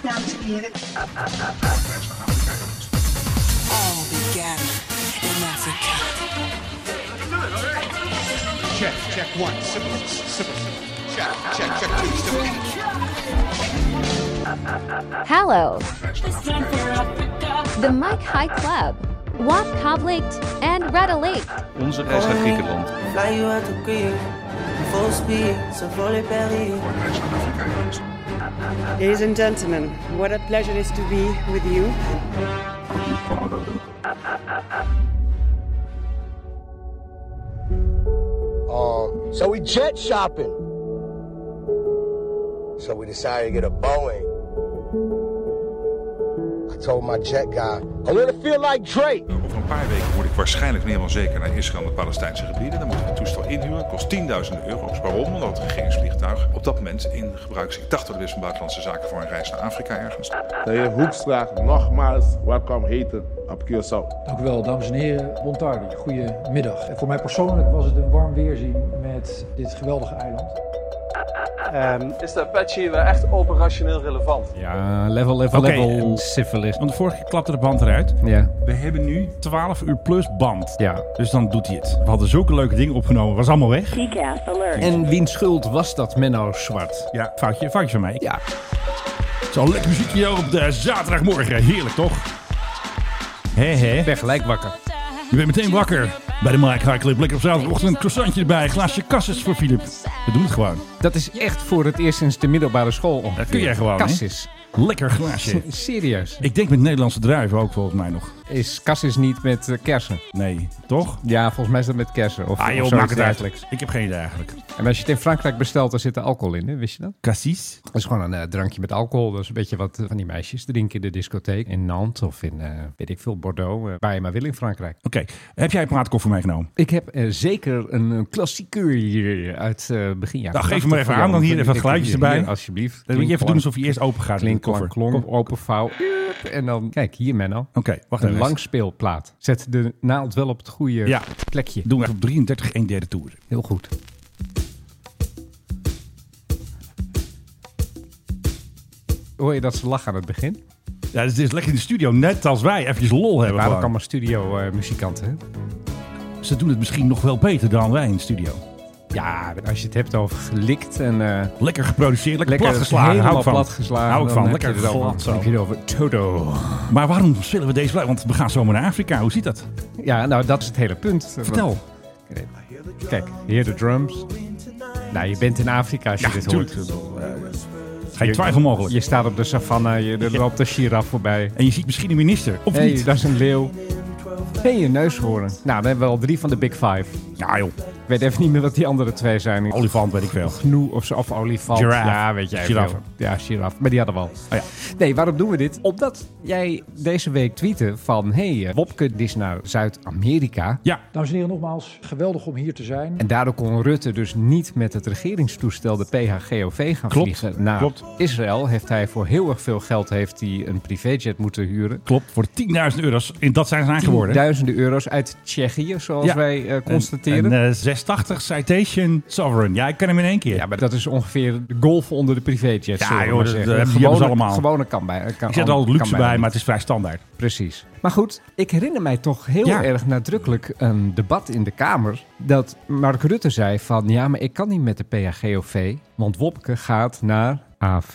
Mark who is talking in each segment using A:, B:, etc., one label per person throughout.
A: hear it?
B: All began in Africa.
C: Check, check one, syphilis, syphilis. Check, check, check two, syphilis.
D: Hello. The Mike High Club. Wap Kablikt and Red Lake.
E: Onze reis
F: Oh.
E: naar Griekenland.
G: Fly you out to Greece, full speed, so volley Paris.
H: Ladies and gentlemen, what a pleasure it is to be with you.
F: Um, so we jet shopping. So we decided to get a Boeing. I told my jet guy, I want to feel like Drake.
E: Eh, Over een paar weken moet ik waarschijnlijk meer dan zeker naar Israël en de Palestijnse gebieden. Dan moeten we het toestel inhuren. Kost tienduizenden euro's. Waarom? Omdat het regeringsvliegtuig op dat moment in gebruik is. Ik dacht dat het is van buitenlandse zaken voor een reis naar Afrika ergens.
I: De heer Hoekstra, nogmaals, welkom heten op Curaçao.
J: Dank u wel, dames en heren. Bontardi, goedemiddag. En voor mij persoonlijk was het een warm weerzien met dit geweldige eiland.
K: is de Apache wel echt operationeel relevant?
L: Ja, level, level, level. syphilis. Want de vorige keer klapte de band eruit. Ja. We hebben nu 12 uur plus band. Ja. Dus dan doet hij het. We hadden zulke leuke dingen opgenomen. Was allemaal weg.
K: En wiens schuld was dat, Menno Zwart?
L: Ja, foutje, foutje van mij. Ja. Zo'n lekker muziekje hier op de zaterdagmorgen. Heerlijk, toch? Hé, hé.
K: Ik ben gelijk wakker.
L: Je bent meteen wakker. Bij de Mike High Club. Lekker op zaterdagochtend. Een croissantje erbij. Een glaasje kasses voor Filip. We doen het gewoon.
K: Dat is echt voor het eerst sinds de middelbare school ongeveer.
L: Dat kun jij gewoon, hè?
K: Cassis.
L: Lekker glaasje.
K: Serieus.
L: Ik denk met Nederlandse druiven ook volgens mij nog.
K: Is cassis niet met eh, kersen?
L: Nee, toch?
K: Ja, volgens mij is dat met kersen. Of,
L: Ah
K: of
L: joh,
K: zoiets
L: maak het
K: dergelijks.
L: eigenlijk. Ik heb geen idee eigenlijk.
K: En als je het in Frankrijk bestelt, dan zit er alcohol in, hè? wist je dat?
L: Cassis?
K: Dat is gewoon een eh, drankje met alcohol. Dat is een beetje wat eh, van die meisjes drinken in de discotheek. In Nantes of in, eh, weet ik veel, Bordeaux. eh, waar je maar wil in Frankrijk.
L: Oké, heb jij een praatkoffer meegenomen?
K: Ik heb eh, zeker een, een klassiekeur hier uit eh begin jaren.
L: Nou, geef
K: 80
L: hem maar even
K: van
L: aan, dan
K: Jan.
L: hier even wat
K: Ik-
L: geluidjes
K: hier,
L: erbij.
K: hier, alsjeblieft.
L: Dan moet je even doen
K: Klinkklank,
L: alsof je eerst open gaat met
K: klink,
L: de koffer.
K: klank, klonk, open vouw. En dan, kijk, hier Menno.
L: Oké, wacht
K: Een
L: even. Langs...
K: langspeelplaat. Zet de naald wel op het goede
L: Ja.
K: plekje.
L: Doen we op 33 1 derde toer.
K: Heel goed. Hoor je dat ze lachen aan het begin?
L: Ja, dus dit is lekker in de studio, net als wij. Even lol hebben
K: We waren ook
L: gewoon.
K: allemaal studio eh, muzikanten. hè?
L: Ze doen het misschien nog wel beter dan wij in de studio.
K: Ja, als je het hebt over gelikt en eh
L: Lekker geproduceerd, lekker,
K: lekker
L: platgeslagen. Hou
K: helemaal
L: ik van.
K: platgeslagen.
L: Hou ik
K: dan
L: van,
K: heb je
L: lekker
K: het over-
L: glad zo.
K: Dan heb je het over Toto.
L: Maar waarom spelen we deze... Want we gaan zomaar naar Afrika, hoe ziet dat?
K: Ja, nou dat is het hele punt.
L: Vertel.
K: Want- Kijk, hear the drums. Nou, je bent in Afrika als je dit hoort.
L: Geen twijfel mogelijk.
K: Je staat op de savanne, je, er
L: Ja.
K: loopt een giraf voorbij.
L: En je ziet misschien een minister, of
K: Hé,
L: niet?
K: dat is een leeuw. Hé, je neushoorn. Nou, we hebben al drie van de big five.
L: Ja joh,
K: Ik weet even niet meer wat die andere twee zijn. Ik-
L: olifant weet ik veel.
K: Gnoe of, zo, of olifant.
L: Giraffe.
K: Ja, weet jij
L: Giraffe.
K: veel. Ja, giraffe. Maar die hadden we al.
L: Oh ja.
K: Nee, waarom doen we dit? Omdat jij deze week tweette van... Hé, hey, eh, Wopke, dit is naar Zuid-Amerika.
L: Ja,
J: Dames en heren, nogmaals, geweldig om hier te zijn.
K: En daardoor kon Rutte dus niet met het regeringstoestel de PHGOV gaan
L: Klopt,
K: vliegen Nou. naar
L: klopt.
K: Israël. Heeft hij voor heel erg veel geld heeft hij een privéjet moeten huren.
L: klopt. Voor 10.000 euro's. En dat zijn ze aan geworden.
K: Duizenden euro's uit Tsjechië, zoals
L: Ja.
K: wij eh, constateren.
L: Een, een, eh, 680 Citation Sovereign. Ja, ik ken hem in één keer.
K: ja, maar dat is ongeveer de golf onder de privéjets.
L: Ja,
K: zullen we
L: joh,
K: maar
L: dat-
K: zeggen.
L: dat hebben ze
K: eh, gewone,
L: allemaal.
K: gewone kan bij. Kan,
L: ik zet er al
K: kan
L: luxe bij,
K: niet.
L: maar het is vrij standaard.
K: Precies. Maar goed, ik herinner mij toch heel
L: Ja.
K: erg nadrukkelijk een debat in de Kamer. Dat Mark Rutte zei van ja, maar ik kan niet met de PHGOV, want Wopke gaat naar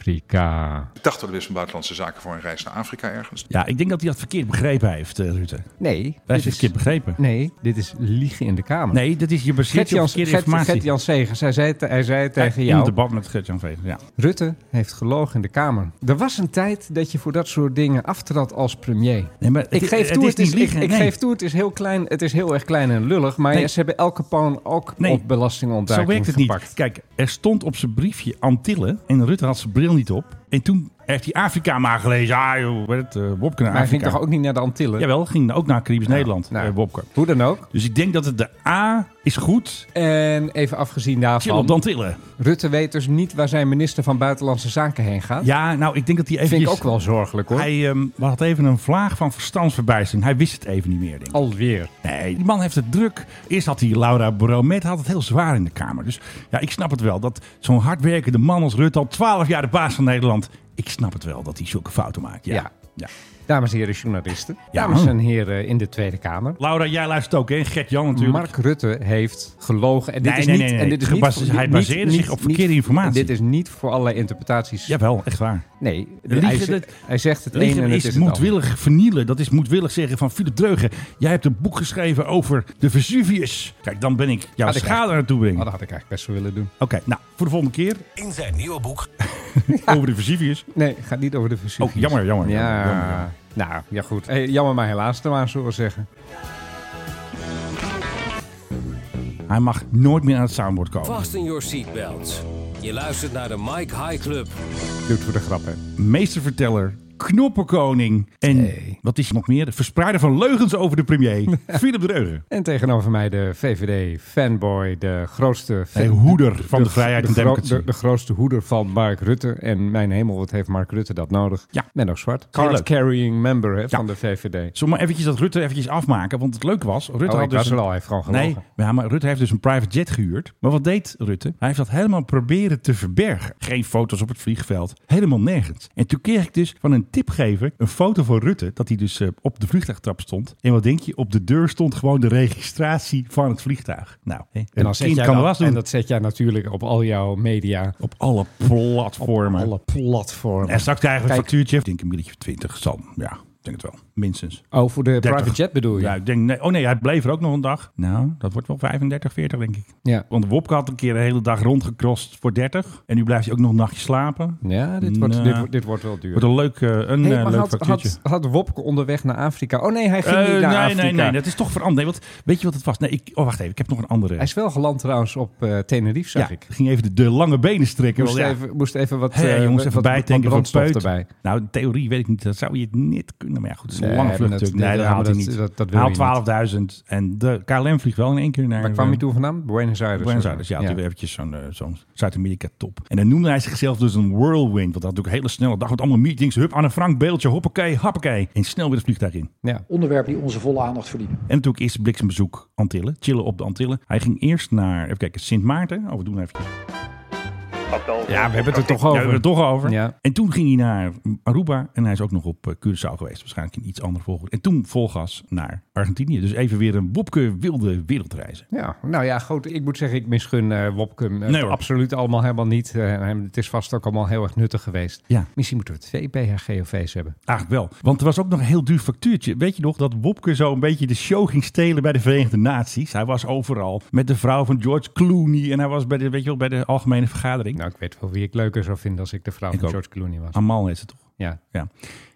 K: Afrika.
E: Ik dacht dat het is van buitenlandse zaken voor een reis naar Afrika ergens.
L: Ja, ik denk dat hij dat verkeerd begrepen heeft, eh, Rutte. Hij
K: Nee,
L: heeft
K: dit
L: het
K: is,
L: verkeerd begrepen.
K: nee, dit is liegen in de Kamer.
L: Nee, dat is je baseert je op
K: Gert-Jan
L: verkeerde
K: Gert-
L: informatie.
K: Gert-Jan Segers, hij zei, te- hij zei tegen
L: In het
K: jou,
L: debat met Gert-Jan Veger, ja.
K: Rutte heeft gelogen in de Kamer. Er was een tijd dat je voor dat soort dingen aftrad als premier.
L: Nee, maar het
K: Ik
L: is-
K: geef
L: het
K: toe,
L: is
K: het is,
L: niet liegen,
K: ik, ik
L: nee.
K: geef toe, het is heel klein, het is heel erg klein en lullig. Maar
L: Nee.
K: ze hebben elke poon ook
L: Nee.
K: op
L: Zo
K: belastingontduiking
L: werkt het niet.
K: gepakt.
L: Kijk, er stond op zijn briefje Antillen en Rutte had zijn bril niet op. En toen heeft hij Afrika maar gelezen. Ah joh, werd het, eh, Wopke naar
K: Maar hij
L: Afrika.
K: ging toch ook niet naar de Antillen?
L: Jawel, ging ook naar Caribisch Nederland,
K: nou.
L: eh, Wopke.
K: Hoe dan ook.
L: Dus ik denk dat het de A is goed.
K: En even afgezien
L: Chill op de
K: daarvan.
L: Antillen.
K: Rutte weet dus niet waar zijn minister van Buitenlandse Zaken heen gaat.
L: Ja, nou, ik denk dat hij
K: Dat
L: eventjes...
K: vind ik ook wel zorgelijk hoor.
L: Hij ehm, had even een vlaag van verstandsverbijstering. Hij wist het even niet meer, denk ik.
K: Alweer.
L: Nee, die man heeft het druk. Eerst had hij Laura Bromet, had het heel zwaar in de Kamer. Dus ja, ik snap het wel. Dat zo'n hardwerkende man als Rutte al twaalf jaar de baas van Nederland ik snap het wel dat hij zulke fouten maakt. Ja.
K: Ja.
L: ja.
K: Dames en heren journalisten,
L: Ja,
K: dames
L: man.
K: en heren in de Tweede Kamer.
L: Laura, jij luistert ook, hè? Gert Jan natuurlijk.
K: Mark Rutte heeft gelogen. En dit
L: Nee,
K: is
L: nee,
K: niet,
L: nee, nee.
K: En dit is
L: Gebase-
K: niet,
L: hij
K: niet-
L: baseerde zich
K: niet-
L: op verkeerde
K: niet-
L: informatie.
K: Dit is niet voor allerlei interpretaties.
L: Jawel, echt waar.
K: Nee,
L: Liegen,
K: hij, ze-
L: dat-
K: hij zegt het een
L: Liegen
K: en het
L: is,
K: is het ander.
L: moedwillig vernielen. Dat is moedwillig zeggen van Philip Dreugen. Jij hebt een boek geschreven over de Vesuvius. Kijk, dan ben ik jouw
K: Had ik
L: schade naartoe brengen.
K: Oh,
L: Oké,
K: dat had ik eigenlijk best wel willen doen.
L: nou, voor de volgende keer
A: In zijn nieuwe boek.
L: over de Vesuvius.
K: Nee, het gaat niet over de Vesuvius.
L: Oh, jammer, jammer,
K: Ja,
L: jammer, jammer, jammer.
K: nou, ja goed. Eh, jammer maar helaas, te maar, zullen we zeggen.
L: Hij mag nooit meer aan het soundboard komen.
A: Vast in your seatbelts. Je luistert naar de Mike High Club.
K: Doet voor de grappen.
L: meesterverteller, knoppenkoning en wat is er nog meer? De verspreider van leugens over de premier, Philip Dreugen.
K: En tegenover mij de VVD-fanboy, de grootste... fan-
L: Hey, hoeder van de vrijheid en
K: gro-
L: democratie.
K: De, de grootste hoeder van Mark Rutte. En mijn hemel, wat heeft Mark Rutte dat nodig?
L: Ja.
K: Menno Zwart.
L: Heel leuk.
K: Card-carrying member hè, van de VVD.
L: Zullen we maar eventjes dat Rutte eventjes afmaken? Want het leuke was... Rutte
K: Oh,
L: had
K: ik
L: dus
K: was er
L: een-
K: al, hij heeft gewoon gelogen.
L: Nee, ja, maar Rutte heeft dus een private jet gehuurd. Maar wat deed Rutte? Hij heeft dat helemaal proberen te verbergen. Geen foto's op het vliegveld. Helemaal nergens. En toen kreeg ik dus van een tipgever een foto van Rutte. Dat hij dus eh, op de vliegtuigtrap stond. En wat denk je? Op de deur stond gewoon de registratie van het vliegtuig. Nou, hè,
K: En, dan
L: een
K: zet
L: kind
K: jij
L: kan
K: dat-
L: was doen.
K: en dat zet jij natuurlijk op al jouw media.
L: Op alle platformen.
K: Alle platformen.
L: En straks krijgen we een
K: Kijk.
L: factuurtje. Ik denk een milletje of 20 zal. Ja, ik denk het wel. Minstens.
K: Oh, voor de
L: 30.
K: private jet bedoel je?
L: Ja, ik denk, nee, oh nee, hij bleef er ook nog een dag. Nou, dat wordt wel 35, 40 denk ik.
K: Ja.
L: Want Wopke had een keer de hele dag rondgecrossed voor 30. En nu blijft hij ook nog een nachtje slapen.
K: Ja, dit wordt,
L: Nou,
K: dit, wordt- dit wordt wel duur.
L: Wordt een leuk, eh, een,
K: Hey,
L: eh,
K: maar
L: leuk
K: had,
L: factuurtje.
K: had, had Wopke onderweg naar Afrika? Oh nee, hij ging
L: Eh,
K: niet naar
L: nee,
K: Afrika.
L: nee, nee, dat is toch veranderd. Nee, want weet je wat het was? Nee, ik, oh, wacht even, ik heb nog een andere.
K: Hij is wel geland trouwens op eh, Tenerife, zag
L: ja,
K: ik.
L: ging even de, de lange benen strekken.
K: Moest,
L: want ja,
K: even, moest even wat,
L: Hé,
K: eh,
L: jongens,
K: wat-
L: even
K: wat-
L: bijtanken
K: wat
L: van
K: brandstof
L: Peut.
K: erbij.
L: Nou, in theorie weet ik niet. Dat zou je niet kunnen. Maar ja, goed, het is een
K: Nee,
L: lange
K: maar
L: vlucht
K: dat-
L: natuurlijk. Nee,
K: nee,
L: dat
K: maar
L: haalt hij
K: dat-
L: niet.
K: dat- dat wil je
L: haalt 12.000. En de KLM vliegt wel in één keer naar...
K: Waar kwam
L: eh,
K: je toen vandaan? Buenos Aires.
L: Buenos Aires, ja,
K: Ja.
L: toen weer eventjes zo'n eh, zo'n Zuid-Amerika top. En dan noemde hij zichzelf dus een whirlwind. Want dat had natuurlijk een hele snelle dag met allemaal meetings. Hup, aan een frank beeldje, hoppakee, happakee. En snel weer het vliegtuig in.
K: Ja.
J: Onderwerpen die onze volle aandacht verdienen.
L: En natuurlijk eerst bliksembezoek Antillen, chillen op de Antillen. Hij ging eerst naar, even kijken, Sint Maarten. Oh, we doen even.
K: ja, we hebben het er toch
L: Ja, we hebben
K: over.
L: het er toch over.
K: Ja.
L: En toen ging hij naar Aruba en hij is ook nog op eh, Curaçao geweest. Waarschijnlijk in iets ander volgorde. En toen volgas naar Argentinië. Dus even weer een Wopke wilde wereldreizen.
K: Ja, nou ja, goed. Ik moet zeggen, ik misgun eh Wopke hem, eh,
L: Nee, hoor.
K: absoluut allemaal helemaal niet. Eh, en het is vast ook allemaal heel erg nuttig geweest. E
L: Ja.
K: Misschien moeten we twee BHGOV's hebben.
L: Eigenlijk wel. Want er was ook nog een heel duur factuurtje. Weet je nog dat Wopke zo een beetje de show ging stelen bij de Verenigde Naties? Hij was overal met de vrouw van George Clooney. En hij was bij de, weet je wel, bij de algemene vergadering.
K: Nou, ik weet wel wie ik leuker zou vinden als ik de vrouw
L: Ik
K: van
L: ook.
K: George Clooney was.
L: Amal is het toch?
K: Ja.
L: Ja.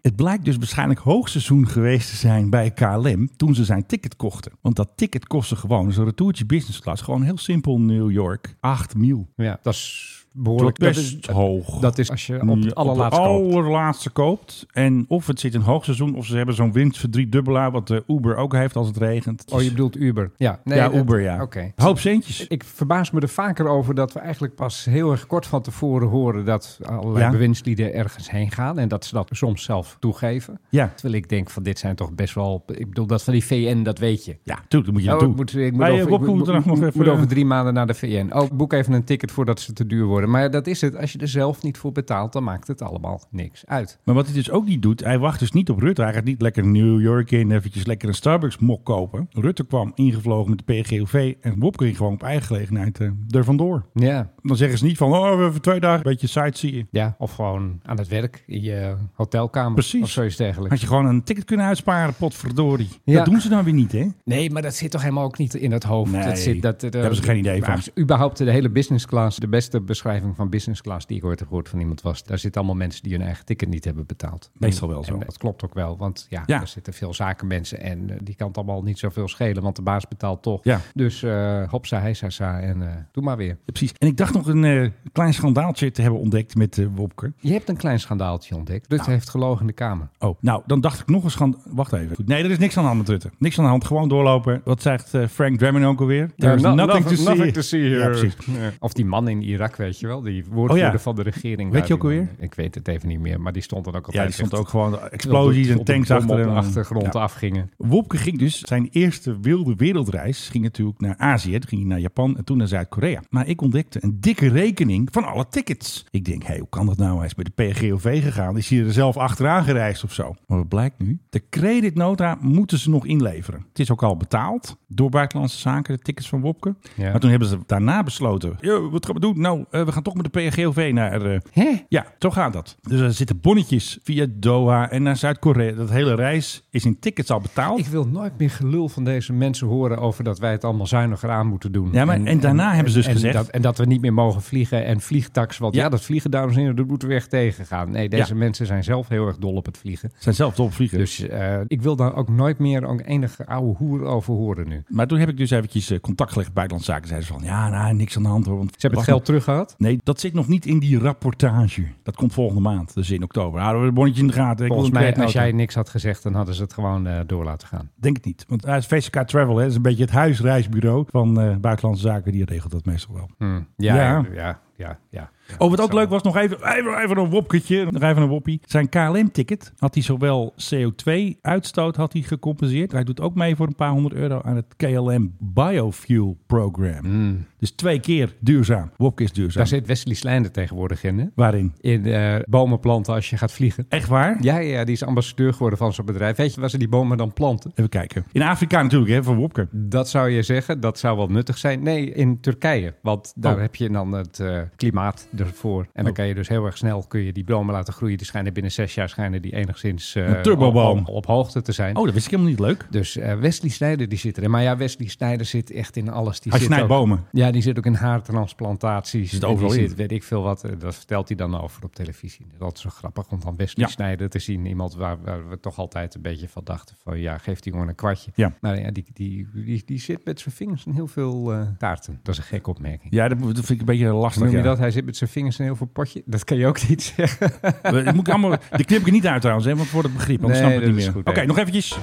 L: Het blijkt dus waarschijnlijk hoogseizoen geweest te zijn bij KLM toen ze zijn ticket kochten. Want dat ticket kostte gewoon, dus een retourtje business class, gewoon heel simpel New York, 8 mil.
K: Ja, dat is behoorlijk.
L: Dat is
K: dat
L: hoog.
K: Dat is als je op het allerlaatste
L: Op het
K: koopt.
L: allerlaatste koopt. En of het zit in hoogseizoen, of ze hebben zo'n winst-verdriedubbelaar, wat eh, Uber ook heeft als het regent.
K: Oh, je bedoelt Uber. Ja, nee,
L: ja,
K: dat-
L: Uber, ja.
K: Oké.
L: Een Hoop centjes.
K: Ik verbaas me er vaker over dat we eigenlijk pas heel erg kort van tevoren horen dat allerlei
L: Ja.
K: bewindslieden ergens heen gaan en dat ze dat soms zelf toegeven.
L: Ja.
K: Terwijl ik denk van dit zijn toch best wel, ik bedoel dat van die VN, dat weet je.
L: Ja, eh, natuurlijk, dat moet je
K: Oh,
L: dat
K: ik
L: doen.
K: moet, ik moet,
L: Hey,
K: over,
L: Bob,
K: ik
L: we
K: moet,
L: moeten nog
K: moet-
L: even- eh,
K: moet over drie maanden naar de VN. Oh, boek even een ticket voordat ze te duur worden. Maar dat is het. Als je er zelf niet voor betaalt, dan maakt het allemaal niks uit.
L: Maar wat hij dus ook niet doet, hij wacht dus niet op Rutte. Hij gaat niet lekker New York in, eventjes lekker een Starbucks mok kopen. Rutte kwam ingevlogen met de PGOV en Bob ging gewoon op eigen gelegenheid eh, er vandoor.
K: Ja.
L: Dan zeggen ze niet van, oh, we hebben twee dagen een beetje sightseeing.
K: ja, of gewoon aan het werk in je hotelkamer
L: Precies.
K: of zoiets dergelijks.
L: Had je gewoon een ticket kunnen uitsparen, potverdorie.
K: Ja.
L: Dat doen ze nou weer niet, hè?
K: Nee, maar dat zit toch helemaal ook niet in het hoofd.
L: Nee,
K: dat zit, dat, dat,
L: daar hebben ze geen idee
K: maar
L: van.
K: als Überhaupt de hele business class, de beste beschrijving van business class die ik ooit heb gehoord van iemand was. Daar zitten allemaal mensen die hun eigen ticket niet hebben betaald.
L: Meestal
K: En-
L: wel zo.
K: En dat klopt ook wel, want ja,
L: Ja.
K: daar zitten veel zakenmensen en eh, die kan het allemaal niet zoveel schelen, want de baas betaalt toch.
L: Ja.
K: Dus eh hopsa, heisasa en eh, doe maar weer.
L: Ja, precies. En ik dacht nog een eh, klein schandaaltje te hebben ontdekt met eh Wopke.
K: Je hebt een klein schandaaltje ontdekt. Rutte
L: Nou.
K: heeft gelogen in de Kamer.
L: Oh, nou, dan dacht ik nog eens gaan... Wacht even. Goed, Nee, er is niks aan de hand met Rutte. Niks aan de hand. Gewoon doorlopen. Wat zegt eh, Frank Drammen ook alweer? There is
K: Ja, no-
L: nothing, to see.
K: here.
L: Ja, precies.
K: Of die man in Irak, weet je je wel? Die woordvoerder
L: Oh ja.
K: van de regering.
L: Weet
K: waar
L: je ook
K: die
L: alweer?
K: man- Ik weet het even niet meer, maar die stond dan ook
L: Ja,
K: altijd...
L: die stond
K: echt-
L: ook gewoon
K: terwijl
L: explosies
K: de-
L: en tanks
K: bommen
L: achter
K: op
L: en-
K: de achtergrond
L: Ja.
K: afgingen.
L: Wopke ging dus zijn eerste wilde wereldreis ging natuurlijk naar Azië. Toen ging hij naar Japan en toen naar Zuid-Korea. Maar ik ontdekte een dikke rekening van alle tickets. Ik denk, hé, hey, hoe kan dat nou? Hij is bij de PGOV gegaan. Is hij er zelf achteraan gereisd of zo? Maar wat blijkt nu? De creditnota moeten ze nog inleveren. Het is ook al betaald door Buitenlandse Zaken, de tickets van Wopke.
K: Ja.
L: Maar toen hebben ze daarna besloten, "Yo, wat gaan we doen? Nou, eh, we gaan toch met de PGOV naar... eh, Ja, zo gaat dat. Dus er zitten bonnetjes via Doha en naar Zuid-Korea. Dat hele reis is in tickets al betaald.
K: Ik wil nooit meer gelul van deze mensen horen over dat wij het allemaal zuiniger aan moeten doen.
L: Ja, maar- en daarna hebben ze dus
K: en
L: gezegd-
K: Dat, en dat we niet meer mogen vliegen en vliegtaks. Want ja,
L: Ja.
K: dat vliegen, dames en heren, dat moeten we echt tegengaan. Nee, deze
L: Ja.
K: mensen zijn zelf heel erg dol op het vliegen.
L: Zijn zelf topvliegers.
K: Dus eh, ik wil daar ook nooit meer ook enige oude hoer over horen nu.
L: Maar toen heb ik dus eventjes eh, contact gelegd bij Buitenlandse Zaken. Zeiden ze van, ja, nou, niks aan de hand hoor. Want ze
K: hebben het geld terug gehad?
L: Nee, dat zit nog niet in die rapportage. Dat komt volgende maand, dus in oktober. Houden we het bonnetje in de gaten. Ik wil
K: Volgens
L: een
K: mij, als
L: creditnota.
K: jij niks had gezegd, dan hadden ze het gewoon eh, door laten gaan.
L: Denk het niet. Want hij is VCK Travel, hè. dat is een beetje het huisreisbureau van eh, Buitenlandse Zaken. Die regelt dat meestal wel.
K: Hm. Ja,
L: Ja.
K: ja, ja. ja, ja.
L: Oh, wat ook leuk was, nog even, even, even een wopketje, nog even een woppie. Zijn KLM-ticket had hij zowel CO2-uitstoot had hij gecompenseerd. Hij doet ook mee voor een paar honderd euro aan het KLM Biofuel Program.
K: Mm.
L: Dus twee keer duurzaam. Wopke is duurzaam.
K: Daar zit Wesley Slijnder tegenwoordig in, hè?
L: Waarin?
K: In eh, bomen planten als je gaat vliegen.
L: Echt waar?
K: Ja, ja, die is ambassadeur geworden van zo'n bedrijf. Weet je waar ze die bomen dan planten?
L: Even kijken. In Afrika natuurlijk, hè, van Wopke.
K: Dat zou je zeggen, dat zou wel nuttig zijn. Nee, in Turkije, want daar
L: Oh.
K: heb je dan het eh, klimaat ervoor. En dan
L: Oh.
K: kan je dus heel erg snel kun je die bomen laten groeien. Die schijnen binnen zes jaar schijnen die enigszins eh,
L: Een turboboom.
K: Op, op, op hoogte te zijn.
L: Oh, dat wist ik helemaal niet leuk.
K: Dus eh, Wesley Snijder die zit erin. Maar ja, Wesley Snijder zit echt in alles. Die
L: Hij
K: zit
L: snijdt
K: ook-
L: bomen.
K: Ja, die zit ook in haartransplantaties.
L: Zit
K: En
L: overal
K: die
L: in.
K: zit, weet ik veel wat. eh, Dat vertelt hij dan over op televisie. Dat is zo grappig om dan Wesley
L: Ja.
K: Snijder te zien. Iemand waar, waar we toch altijd een beetje van dachten van... ja, geef die jongen een kwartje.
L: Ja.
K: Maar ja, die, die, die, die zit met zijn vingers in heel veel eh, taarten. Dat is een gekke opmerking.
L: Ja, dat dat vind ik een beetje
K: Hoe
L: lastig.
K: noem je
L: ja.
K: dat? Hij zit met zijn vingers in heel veel potje. Dat kan je ook niet zeggen.
L: We- dat moet ik allemaal, die knip ik niet uit trouwens, hè, want voor het begrip, anders
K: Nee,
L: snap ik het
K: dat
L: niet
K: is
L: meer.
K: goed,
L: Oké,
K: hè.
L: nog eventjes.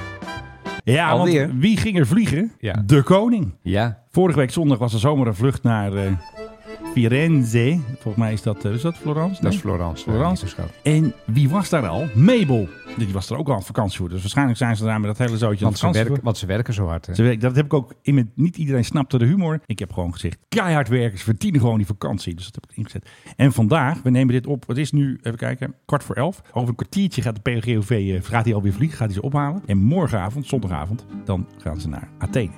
L: Ja,
K: Alweer?
L: want wie ging er vliegen?
K: Ja.
L: De koning.
K: Ja.
L: Vorige week zondag was er zomaar een vlucht naar eh, Firenze. Volgens mij is dat, eh, is dat Florence?
K: Dat is
L: Nee?
K: Florence. eh,
L: Florence.
K: niet zo schat.
L: En wie was daar al? Mabel. Die was er ook al aan vakantie voor. Dus waarschijnlijk zijn ze daar met dat hele zootje aan
K: Want ze,
L: vakantie
K: werken,
L: voor.
K: want ze werken zo hard. hè.
L: Ze werken- Dat heb ik ook in mijn, niet iedereen snapte de humor. Ik heb gewoon gezegd, keihard werkers verdienen gewoon die vakantie. Dus dat heb ik ingezet. En vandaag, we nemen dit op. Het is nu, even kijken, kwart voor elf. Over een kwartiertje gaat de PGOV, eh, gaat hij alweer vliegen, gaat hij ze ophalen. En morgenavond, zondagavond, dan gaan ze naar Athene.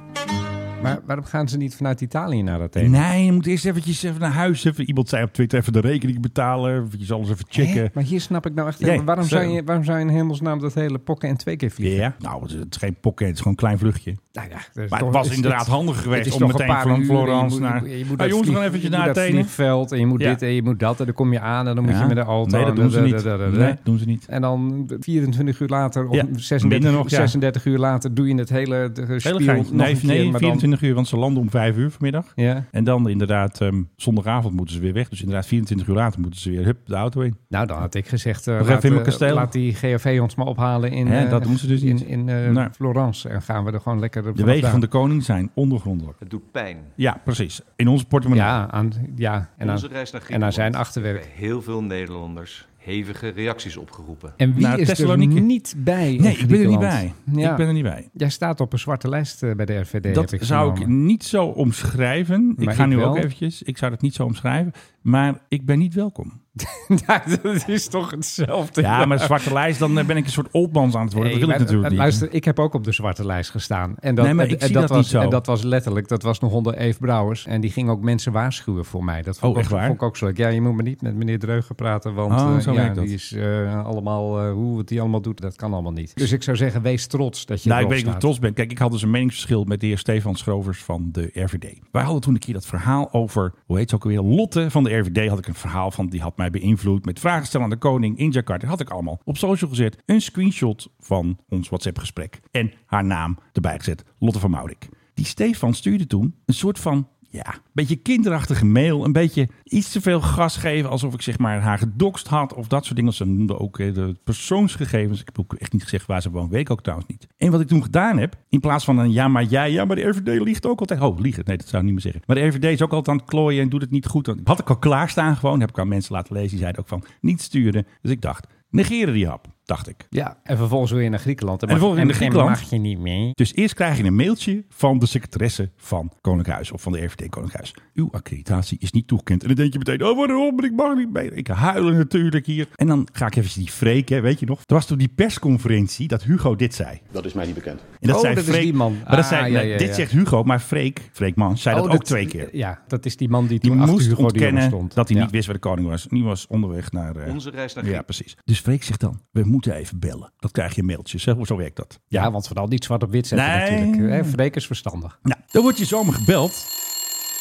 K: Maar waarom gaan ze niet vanuit Italië naar Athene?
L: Nee, je moet eerst eventjes even naar huis. Even, iemand zei op Twitter even de rekening betalen. Eventjes alles even checken.
K: Hè? Maar hier snap ik nou echt
L: Ja,
K: niet. Waarom,
L: zo.
K: zou je, waarom zou je in hemelsnaam dat hele pokken en twee keer vliegen?
L: Ja, nou, het is- het is geen pocket, het is gewoon een klein vluchtje.
K: Nou ja, dat is
L: Maar
K: toch-
L: het was
K: is-
L: inderdaad
K: het-
L: handig geweest
K: het is
L: om
K: toch
L: meteen
K: een paar
L: van
K: uur en je
L: Florence
K: moet-
L: naar-
K: Je,
L: Ah,
K: moet
L: jongens, we gaan
K: vlieg-
L: eventjes
K: je
L: naar
K: moet dat
L: Athene.
K: vliegveld en je moet
L: Ja.
K: dit en je moet dat en dan kom je aan en dan moet
L: Ja.
K: je met de auto.
L: Nee, dat
K: en
L: doen ze
K: da- da-
L: niet.
K: da- da- da-
L: Nee, doen ze niet.
K: En dan 24 uur later of
L: Ja,
K: 36,
L: minder nog, ja.
K: 36 uur later doe je het hele de-
L: Hele
K: spiel
L: gein.
K: nog
L: Nee,
K: een keer,
L: nee,
K: maar dan-
L: 24 uur, want ze landen om 5 uur vanmiddag.
K: Ja.
L: En dan inderdaad, ehm, zondagavond moeten ze weer weg. Dus inderdaad, 24 uur later moeten ze weer hup, de auto in.
K: Nou, dan had ik gezegd, eh,
L: Nog
K: laat,
L: even in mijn
K: eh,
L: kasteel.
K: laat die GOV ons maar ophalen in,
L: Hè,
K: eh,
L: dat doen ze dus niet.
K: in, in eh,
L: Nee.
K: Florence. En gaan we er gewoon lekker
L: De wegen van de koning zijn ondergrondelijk.
M: Het doet pijn.
L: Ja, precies. In onze portemonnee.
K: Ja, aan, ja en, aan,
M: Onze reis naar Griekenland.
K: en aan zijn achterwerk.
M: Bij heel veel Nederlanders hevige reacties opgeroepen.
K: En wie
L: Naar
K: is er
L: Nou, Thessaloniki.
K: niet bij? in
L: Nee, ik ben er niet bij.
K: Griekenland? Ja.
L: Ik ben er niet bij.
K: Jij staat op een zwarte lijst eh, bij de RVD.
L: Dat
K: heb ik
L: zou ik
K: vernomen.
L: niet zo omschrijven. Ik
K: Maar
L: ga
K: ik
L: nu
K: wel.
L: ook eventjes. Ik zou dat niet zo omschrijven. Maar ik ben niet welkom.
K: Ja, dat is toch hetzelfde.
L: Ja, maar zwarte lijst, dan eh, ben ik een soort oldmans aan het worden.
K: Nee,
L: dat wil ik
K: maar, eh,
L: natuurlijk niet.
K: Luister, ik heb ook op de zwarte lijst gestaan. En dat,
L: Nee, maar
K: en-
L: ik
K: en
L: zie dat
K: was,
L: niet zo.
K: En dat was letterlijk, dat was nog onder Eve Brouwers. En die ging ook mensen waarschuwen voor mij. Dat vond,
L: Oh,
K: ik,
L: echt
K: ook,
L: waar?
K: vond ik ook zo leuk. Ja, je moet maar niet met meneer Dreugen praten, want
L: Oh,
K: eh,
L: zo
K: ja,
L: werkt dat.
K: die is eh, allemaal, eh, hoe het die allemaal doet, dat kan allemaal niet. Dus ik zou zeggen, wees trots dat je
L: Nou, ik
K: erop
L: weet niet of ik
K: staat.
L: trots ben. Kijk, ik had dus een meningsverschil met de heer Stefan Schrovers van de RVD. Wij hadden toen een keer dat verhaal over, hoe heet ze ook alweer, Lotte van de RVD. Had ik een verhaal van, die had mij beïnvloed met vragen stellen aan de koning in Jakarta. Had ik allemaal op social gezet. Een screenshot van ons WhatsApp gesprek. En haar naam erbij gezet, Lotte van Maurik. Die Stefan stuurde toen een soort van Ja, beetje kinderachtige mail. Een beetje iets te veel gas geven. Alsof ik zeg maar haar gedokst had. Of dat soort dingen. Ze noemden ook eh, de persoonsgegevens. Ik heb ook echt niet gezegd waar ze woont. Weet ik ook trouwens niet. En wat ik toen gedaan heb. In plaats van een ja maar jij. Ja maar de RVD liegt ook altijd. Oh liegen. Nee dat zou ik niet meer zeggen. Maar de RVD is ook altijd aan het klooien. En doet het niet goed. Dat Had ik al klaarstaan gewoon. Heb ik aan mensen laten lezen. Die zeiden ook van niet sturen. Dus ik dacht negeren die hap. Dacht ik.
K: Ja, en vervolgens wil je naar Griekenland. En,
L: En vervolgens
K: en-
L: in Griekenland.
K: en mag je niet mee.
L: Dus eerst krijg je een mailtje van de secretaresse van Koninkhuis of van de RVD Koninkhuis. Uw accreditatie is niet toegekend. En dan denk je meteen, oh waarom, ik mag niet mee. Ik huilen natuurlijk hier. En dan ga ik even die Freek, hè, weet je nog. Er was toen die persconferentie dat Hugo dit zei.
N: Dat is mij niet bekend.
L: En dat
K: Oh,
L: zei
K: dat is
L: Freek,
K: die man.
L: Maar dat
K: Ah,
L: zei,
K: ja,
L: nee,
K: ja,
L: dit
K: ja.
L: zegt Hugo, maar Freek, Freek Man, zei
K: Oh,
L: dat ook twee keer.
K: Ja, dat is die man die,
L: Die
K: toen achter
L: moest
K: Hugo de Jonge
L: ontkennen
K: stond.
L: dat hij
K: Ja.
L: niet wist waar de koning was. Die was onderweg naar... eh,
M: Onze reis naar
L: Ja,
M: Griekenland.
L: precies. Dus Freek zegt dan, we moeten even bellen. Dat krijg je mailtjes, hè? zo werkt dat.
K: Ja, want vooral niet zwart op wit zetten
L: Nee.
K: natuurlijk. Hè, Freek is verstandig.
L: Nou, dan word je zomaar gebeld.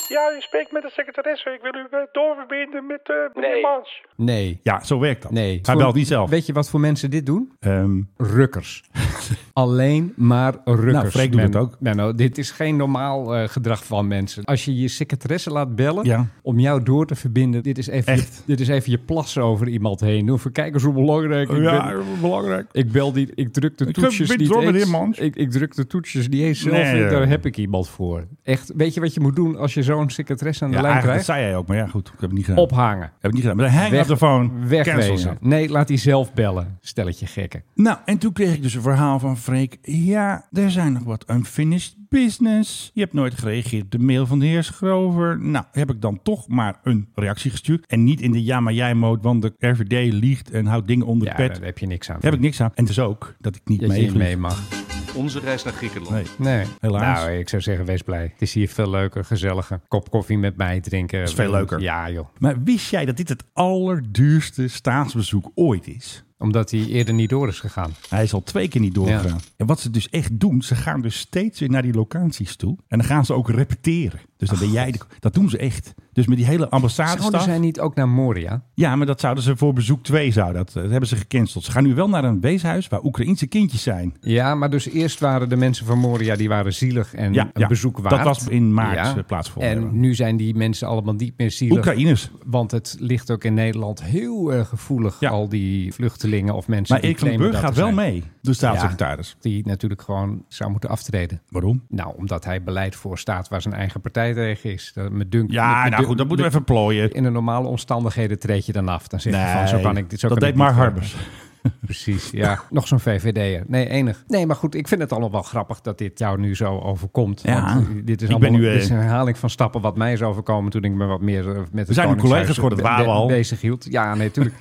O: Ja, u spreekt met de secretaresse. Ik wil u eh, doorverbinden met eh meneer Mans.
K: Nee.
L: Ja, zo werkt dat.
K: Nee.
L: Hij belt niet zelf. Ehm,
K: Weet je wat voor mensen dit doen?
L: rukkers.
K: Alleen maar rukkers.
L: Nou, Freek doet het ook.
K: Menno, dit is geen normaal eh, gedrag van mensen. Als je je secretaresse laat bellen
L: Ja.
K: om jou door te verbinden. Dit is, even je, dit is even je plassen over iemand heen doen. Voor kijk eens hoe belangrijk ik
L: Ja,
K: ben.
L: belangrijk.
K: Ik bel die, ik druk de
L: Ik
K: toetsjes
L: ben
K: niet
L: door, meneer
K: eens.
L: Mans.
K: Ik, ik druk de toetsjes niet eens zelf.
L: Nee,
K: in. daar
L: joh.
K: heb ik iemand voor. Echt, weet je wat je moet doen als je zo'n secretaresse aan de
L: Ja,
K: lijn
L: eigenlijk dat zei
K: krijgt?
L: jij ook, maar ja, goed. Ik heb het niet gedaan.
K: Ophangen.
L: Heb ik niet gedaan. Maar dan hang
K: Weg-
L: op de phone.
K: Wegwezen.
L: Cancel.
K: Nee, laat die zelf bellen. Stelletje gekken.
L: Nou, en toen kreeg ik dus een verhaal van Freek. Ja, er zijn nog wat unfinished business. Je hebt nooit gereageerd op de mail van de heer Schrover. Nou, heb ik dan toch maar een reactie gestuurd. En niet in de ja maar jij mode, want de RVD liegt en houdt dingen onder
K: Ja,
L: de pet.
K: daar heb je niks aan.
L: Daar heb ik niks aan. En dus ook dat ik niet
K: Dat je
L: mee,
K: niet mee mag.
M: Onze reis naar Griekenland.
L: Nee.
K: Nee,
L: Helaas.
K: Nou, ik zou zeggen, wees blij. Het is hier veel leuker, gezelliger. Kop koffie met mij drinken.
L: is veel leuker.
K: Ja, joh.
L: Maar wist jij dat dit het allerduurste staatsbezoek ooit is?
K: Omdat hij eerder niet door is gegaan.
L: Hij is al twee keer niet doorgegaan. En wat ze dus echt doen, ze gaan dus steeds weer naar die locaties toe. En dan gaan ze ook repeteren. Dus dan ben jij de- dat doen ze echt. Dus met die hele
K: Zouden
L: ambassadestaf.
K: zij niet ook naar Moria?
L: Ja, maar dat zouden ze voor bezoek 2 zou dat, eh, dat hebben ze gecanceld. Ze gaan nu wel naar een weeshuis waar Oekraïense kindjes zijn.
K: Ja, maar dus eerst waren de mensen van Moria, die waren zielig en
L: Ja,
K: een
L: ja.
K: bezoek
L: Dat
K: waard.
L: was in maart, eh, plaatsgevonden
K: En
L: hebben.
K: nu zijn die mensen allemaal niet meer zielig.
L: Oekraïners.
K: Want het ligt ook in Nederland heel erg gevoelig, al die vluchtelingen of mensen
L: Maar
K: die
L: Erik van den
K: claimen
L: Burg
K: dat
L: gaat
K: te
L: wel
K: zijn.
L: mee, de staatssecretaris.
K: Ja, die natuurlijk gewoon zou moeten aftreden.
L: Waarom?
K: Nou, omdat hij beleid voorstaat waar zijn eigen partij tegen is. Dat, me dunkt,
L: Ja,
K: me- me
L: nou
K: dunkt-
L: goed, dat moeten we
K: me-
L: even plooien.
K: In de normale omstandigheden treed je dan af. Dan zeg je
L: Nee,
K: van, zo kan ik dit. Zo
L: dat
K: kan
L: deed
K: ik
L: maar
K: niet verder.
L: Harbers.
K: Precies, ja. Nog zo'n VVD'er. Nee, enig. Nee, maar goed, ik vind het allemaal wel grappig dat dit jou nu zo overkomt.
L: Ja.
K: Want, eh, dit is,
L: Ik
K: allemaal,
L: ben nu, eh,
K: dit is een herhaling van stappen wat mij is overkomen toen ik me wat meer eh, met
L: zijn nu
K: het
L: collega's geworden, dat waren we al.
K: bezig hield. Ja, nee, natuurlijk.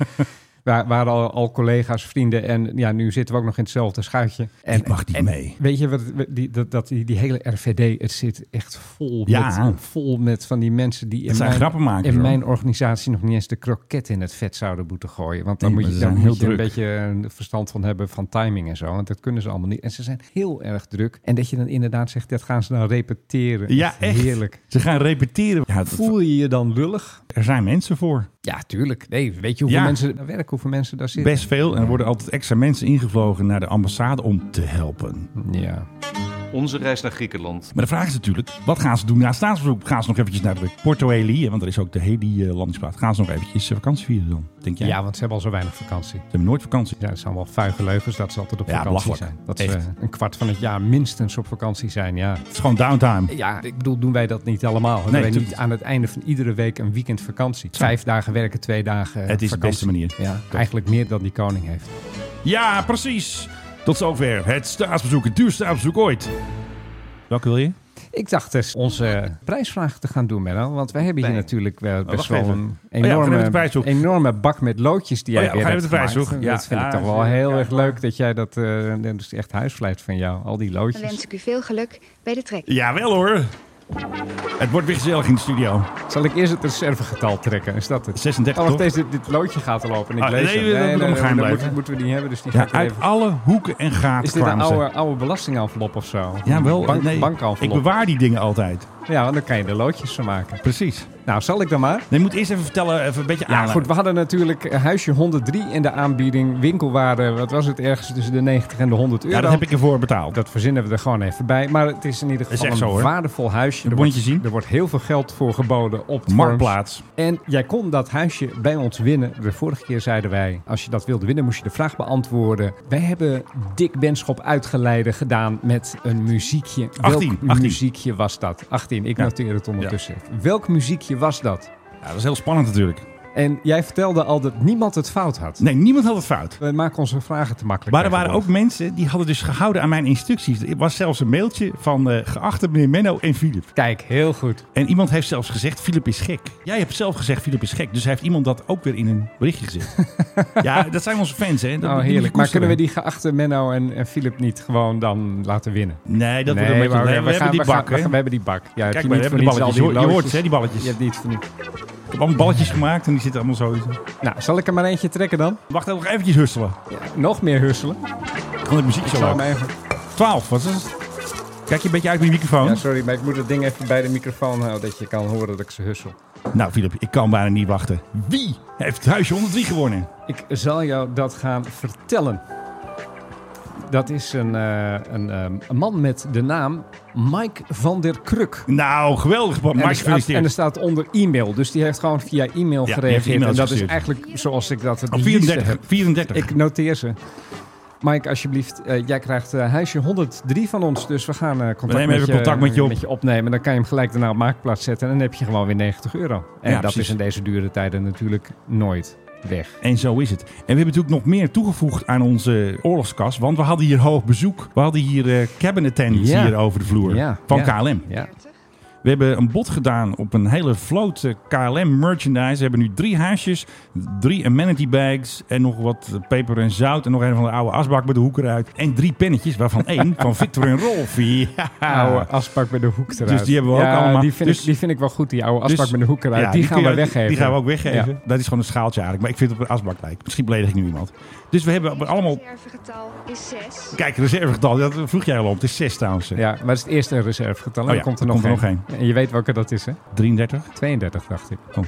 K: We waren al, al collega's, vrienden en ja, nu zitten we ook nog in hetzelfde schuitje. En,
L: ik mag niet mee.
K: Weet je, wat, we- die, dat, dat, die, die hele RVD, het zit echt vol,
L: Ja.
K: met, vol met van die mensen die
L: Het zijn grappenmakers,
K: in
L: hoor.
K: mijn organisatie nog niet eens de kroket in het vet zouden moeten gooien. Want dan
L: Nee,
K: moet je,
L: maar ze
K: dan
L: zijn
K: moet je
L: heel
K: een
L: druk.
K: beetje een verstand van hebben van timing en zo. Want dat kunnen ze allemaal niet. En ze zijn heel erg druk. En dat je dan inderdaad zegt, dat gaan ze dan repeteren.
L: Ja, echt.
K: Heerlijk.
L: Ze gaan repeteren. Ja, dat-
K: Voel je je dan lullig?
L: er zijn mensen voor.
K: Ja, tuurlijk. Nee, weet je hoeveel
L: Ja.
K: mensen daar werken, hoeveel mensen daar zitten?
L: Best veel. En er worden altijd extra mensen ingevlogen naar de ambassade om te helpen.
K: Ja.
M: Onze reis naar Griekenland.
L: Maar de vraag is natuurlijk, wat gaan ze doen na het staatsbezoek? Gaan ze nog eventjes naar de Porto Heli, want er is ook de Heli-landingsplaats. Gaan ze nog eventjes eh, vakantie vieren dan, denk
K: Ja.
L: jij?
K: want ze hebben al zo weinig vakantie.
L: Ze hebben nooit vakantie.
K: Ja, het zijn wel vuige leugens dat ze altijd op
L: Ja,
K: vakantie
L: belachelijk.
K: zijn. Dat
L: Echt.
K: ze een kwart van het jaar minstens op vakantie zijn, ja.
L: Het is gewoon downtime.
K: Ja, ik bedoel, doen wij dat niet allemaal? Hebben wij
L: natuurlijk
K: niet aan het einde van iedere week een weekend vakantie? Vijf dagen werken, twee dagen
L: Het is de
K: vakantie.
L: beste manier.
K: Ja, eigenlijk meer dan die koning heeft.
L: Ja, precies. Tot zover het staatsbezoek, het duurste staatsbezoek ooit. Welke wil je?
K: Ik dacht dus onze prijsvraag te gaan doen, Menno. Want wij hebben hier
L: Nee.
K: natuurlijk wel
L: Oh,
K: best
L: wacht
K: wel
L: even.
K: een
L: Oh ja, we gaan even de
K: enorme,
L: prijsvraag.
K: enorme bak met loodjes die
L: Oh
K: jij
L: ja, we
K: weer
L: gaan even de
K: hebt
L: prijsvraag.
K: gemaakt.
L: Ja.
K: Dat vind
L: Ja,
K: ik toch wel
L: ja,
K: heel
L: ja,
K: erg
L: ja.
K: leuk dat jij dat... eh, dat is echt huisvlijt van jou, al die
P: Dan
K: loodjes.
P: wens ik u veel geluk bij de trek.
L: Jawel hoor. Het wordt weer gezellig in de studio.
K: Zal ik eerst het reservegetal trekken? Is dat het?
L: 36,
K: Oh, wacht,
L: toch?
K: deze, dit loodje gaat al open. Ik
L: Ah,
K: lees
L: nee,
K: hem.
L: dat moet allemaal geheim
K: dat
L: blijven.
K: moeten- moeten we niet hebben, dus die ga
L: Ja,
K: ik er
L: uit
K: even...
L: alle hoeken en gaten
K: Is dit een
L: kwamen ze.
K: oude, oude belastingenvelop of zo?
L: Ja, wel.
K: Bank,
L: nee.
K: Bankenvelop.
L: Ik bewaar die dingen altijd.
K: Ja, want dan kan je er loodjes van maken.
L: Precies.
K: Nou, zal ik dan maar?
L: Nee, je moet eerst even vertellen, even een beetje
K: Ja,
L: aanleggen.
K: goed. We hadden natuurlijk eh, huisje 103 in de aanbieding. Winkelwaarde, wat was het? Ergens tussen de 90 en de 100 euro.
L: Ja, dat heb ik ervoor betaald.
K: Dat verzinnen we er gewoon even bij. Maar het is in ieder
L: Dat is
K: geval een
L: echt zo, hoor.
K: waardevol huisje.
L: Een
K: Er
L: bondje
K: wordt,
L: zien.
K: er wordt heel veel geld voor geboden op de
L: Marktplaats.
K: forums. En jij kon dat huisje bij ons winnen. De vorige keer zeiden wij, als je dat wilde winnen, moest je de vraag beantwoorden. Wij hebben Dick Benschop uitgeleide gedaan met een muziekje.
L: 18,
K: Welk
L: 18.
K: muziekje was dat? 18, ik
L: Ja.
K: noteer het ondertussen. Welk muziekje was dat?
L: Ja, dat is heel spannend natuurlijk.
K: En jij vertelde al dat niemand het fout had.
L: Nee, niemand had het fout.
K: We maken onze vragen te makkelijk.
L: Maar er waren ook
K: tegenwoordig.
L: mensen die hadden dus gehouden aan mijn instructies. Er was zelfs een mailtje van eh, geachte meneer Menno en Filip.
K: Kijk, heel goed.
L: En iemand heeft zelfs gezegd, Filip is gek. Jij hebt zelf gezegd, Filip is gek. Dus heeft iemand dat ook weer in een berichtje gezet. ja, dat zijn onze fans, hè. Dat moet
K: Oh,
L: je
K: heerlijk. Maar
L: koesteren.
K: kunnen we die geachte Menno en, en Philip niet gewoon dan laten winnen?
L: Nee, dat wordt een beetje...
K: maar
L: nee, we,
K: gaan-
L: hebben die
K: gaan-
L: bak,
K: we,
L: hè.
K: gaan- we hebben die bak. Ja, heb
L: Kijk,
K: je
L: maar,
K: niet
L: we
K: voor
L: hebben de
K: niets al
L: balletjes.
K: die
L: Je, je hoort
K: loodjes.
L: ze, hè, die balletjes.
K: Je hebt niet voor niets.
L: Ik heb allemaal balletjes gemaakt en die zitten allemaal zo.
K: Nou, zal ik er maar eentje trekken dan?
L: Wacht even, nog eventjes husselen.
K: nog meer husselen.
L: Gewoon de muziek
K: Ik
L: zo
K: zou hem
L: hoog.
K: even-
L: 12, wat is het? Kijk je een beetje uit mijn microfoon?
K: Ja, Oh, sorry, maar ik moet het ding even bij de microfoon houden, dat je kan horen dat ik ze hussel.
L: Nou, Filip, ik kan bijna niet wachten. Wie heeft het huisje 103 gewonnen?
K: Ik zal jou dat gaan vertellen. Dat is een, eh, een, eh, een man met de naam Mike van der Kruk.
L: Nou, geweldig, man.
K: En
L: Mike,
K: er staat, en er
L: gefeliciteerd.
K: staat onder e-mail. Dus die heeft gewoon via e-mail
L: Ja, die heeft
K: gereageerd.
L: e-mails
K: en dat is
L: gestuurd.
K: eigenlijk zoals ik dat het
L: Oh,
K: liefste
L: 34,
K: heb.
L: 34.
K: Ik noteer ze. Mike, alsjeblieft, eh, jij krijgt eh, huisje 103 van ons. Dus we gaan eh, contact,
L: nemen
K: met
L: even
K: je,
L: contact met je op.
K: opnemen. Dan kan je hem gelijk daarna op Marktplaats zetten. En dan heb je gewoon weer 90 euro. En
L: Ja,
K: dat
L: precies.
K: is in deze dure tijden natuurlijk nooit weg.
L: En zo is het. En we hebben natuurlijk nog meer toegevoegd aan onze oorlogskas. Want we hadden hier hoog bezoek. We hadden hier eh, cabinet attendants
K: Ja.
L: hier over de vloer.
K: Ja,
L: Van
K: ja,
L: KLM.
K: ja.
L: We hebben een bod gedaan op een hele vloot eh, KLM merchandise. We hebben nu drie haasjes, drie amenity bags en nog wat eh, peper en zout. En nog een van de oude asbak met de hoek eruit. En drie pennetjes, waarvan één van Victor en Rolf. Ja.
K: Oude asbak met de hoek eruit.
L: Ah. Dus die hebben we ook
K: Ja,
L: allemaal.
K: Die vind,
L: Dus-
K: ik, die vind ik wel goed, die oude
L: Dus-
K: asbak met de hoek eruit.
L: ja,
K: die, gaan
L: kun
K: we
L: je-
K: weggeven.
L: Die gaan we ook weggeven.
K: Ja.
L: Dat is gewoon een schaaltje eigenlijk. Maar ik vind het op een asbak lijken. Misschien beledig ik nu iemand. Dus we hebben allemaal...
P: Reservegetal is 6.
L: Kijk, reservegetal. Dat vroeg jij al om. Het is zes trouwens.
K: Ja, maar het is het eerste reservegetal. En
L: Oh
K: dan
L: ja,
K: komt er
L: dan
K: nog
L: komt er
K: één.
L: nog
K: En je weet welke dat is, hè?
L: 33.
K: 32, dacht ik.
L: Oh,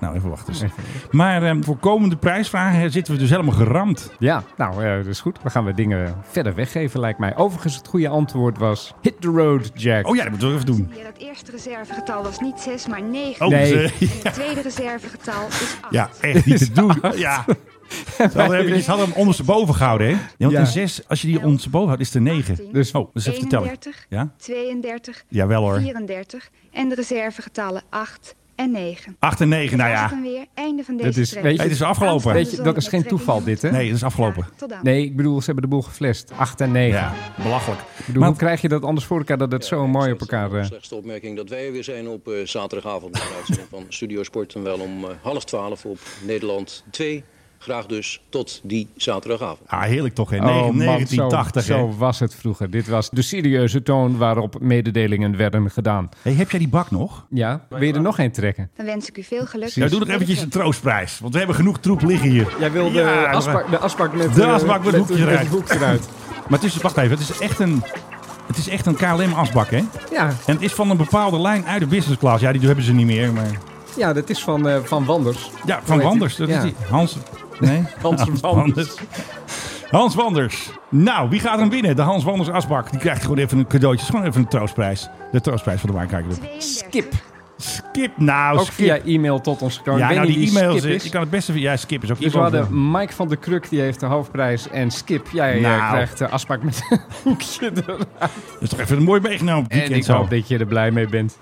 L: nou even wachten. Dus. Maar ehm, voor komende prijsvragen hè, zitten we dus helemaal geramd.
K: Ja, nou, eh, dat is goed. Dan gaan we dingen verder weggeven, lijkt mij. Overigens, het goede antwoord was... Hit the road, Jack.
L: Oh ja, dat moeten we even doen. eh,
P: Ja, dat eerste reservegetal was niet 6, maar 9.
K: Oh, Nee. ze-
P: En het tweede reservegetal is 8.
L: Ja, echt niet te doen. Ja. Ze hadden, even, ze hadden hem ondersteboven gehouden, hè? Ja, want
K: Ja.
L: een 6, als je die ondersteboven houdt, is het een 9. Dus, oh, dus even vertellen.
P: 31,
L: Ja?
P: 32,
L: Jawel hoor.
P: 34 en de reservegetallen 8 en 9.
L: 8 en 9, nou ja.
P: Dan weer einde van deze
K: Dat is,
P: trek.
K: weet je,
L: Het is afgelopen.
K: Weet je, dat is geen toeval, dit, hè?
L: Nee, dat is afgelopen.
P: Tot dan.
K: Nee, ik bedoel, ze hebben de boel geflasht. 8 en 9.
L: Ja, belachelijk.
K: Ik bedoel, hoe krijg je dat anders voor elkaar dat het zo mooi op elkaar... eh,
N: Slechtste opmerking dat wij er weer zijn op eh, zaterdagavond bij de uitzending van Studio Sport. En wel om eh, half twaalf op Nederland 2. Graag dus tot die zaterdagavond.
L: Ah, heerlijk toch, hè?
K: Oh, man, zo-
L: 1980,
K: zo,
L: hè?
K: was het vroeger. Dit was de serieuze toon waarop mededelingen werden gedaan.
L: Hey, heb jij die bak nog?
K: Ja, wil je er nog één trekken?
P: Dan wens ik u veel geluk.
L: Ja, doe nog eventjes een troostprijs, want we hebben genoeg troep liggen hier.
K: Jij wil de
L: Ja,
K: asbak- de asbak met,
L: de
K: eh,
L: asbak met
K: met-
L: het hoekje
K: met het
L: eruit.
K: hoekje eruit.
L: maar het is, wacht even, het is echt een, het is echt een KLM-asbak, hè?
K: Ja.
L: En het is van een bepaalde lijn uit de business class. Ja, die hebben ze niet meer, maar...
K: Ja, dat is van, eh, van Wanders.
L: Ja,
K: Hoe
L: van
K: heet
L: Wanders.
K: die?
L: Dat
K: Ja.
L: is die. Hans. Nee?
K: Hans Wanders.
L: Hans Wanders. Nou, wie gaat hem winnen? De Hans Wanders asbak. Die krijgt gewoon even een cadeautje. Het is Gewoon even een troostprijs. De troostprijs van de Wijnkijker.
K: Skip.
L: Skip nou,
K: Ook
L: skip.
K: via e-mail tot ons gekomen.
L: ja,
K: Ik weet
L: nou,
K: niet
L: die
K: wie
L: e-mails.
K: Skip
L: eh,
K: is.
L: Je kan het beste... Ja, Skip is ook
K: Dus we
L: iemand.
K: hadden Mike van der Kruk, die heeft de hoofdprijs. En Skip, jij eh,
L: Nou.
K: krijgt de asbak met een hoekje eruit.
L: Dat is toch even mooi meegenomen. op het
K: En
L: weekend
K: ik
L: zo.
K: hoop dat je er blij mee bent.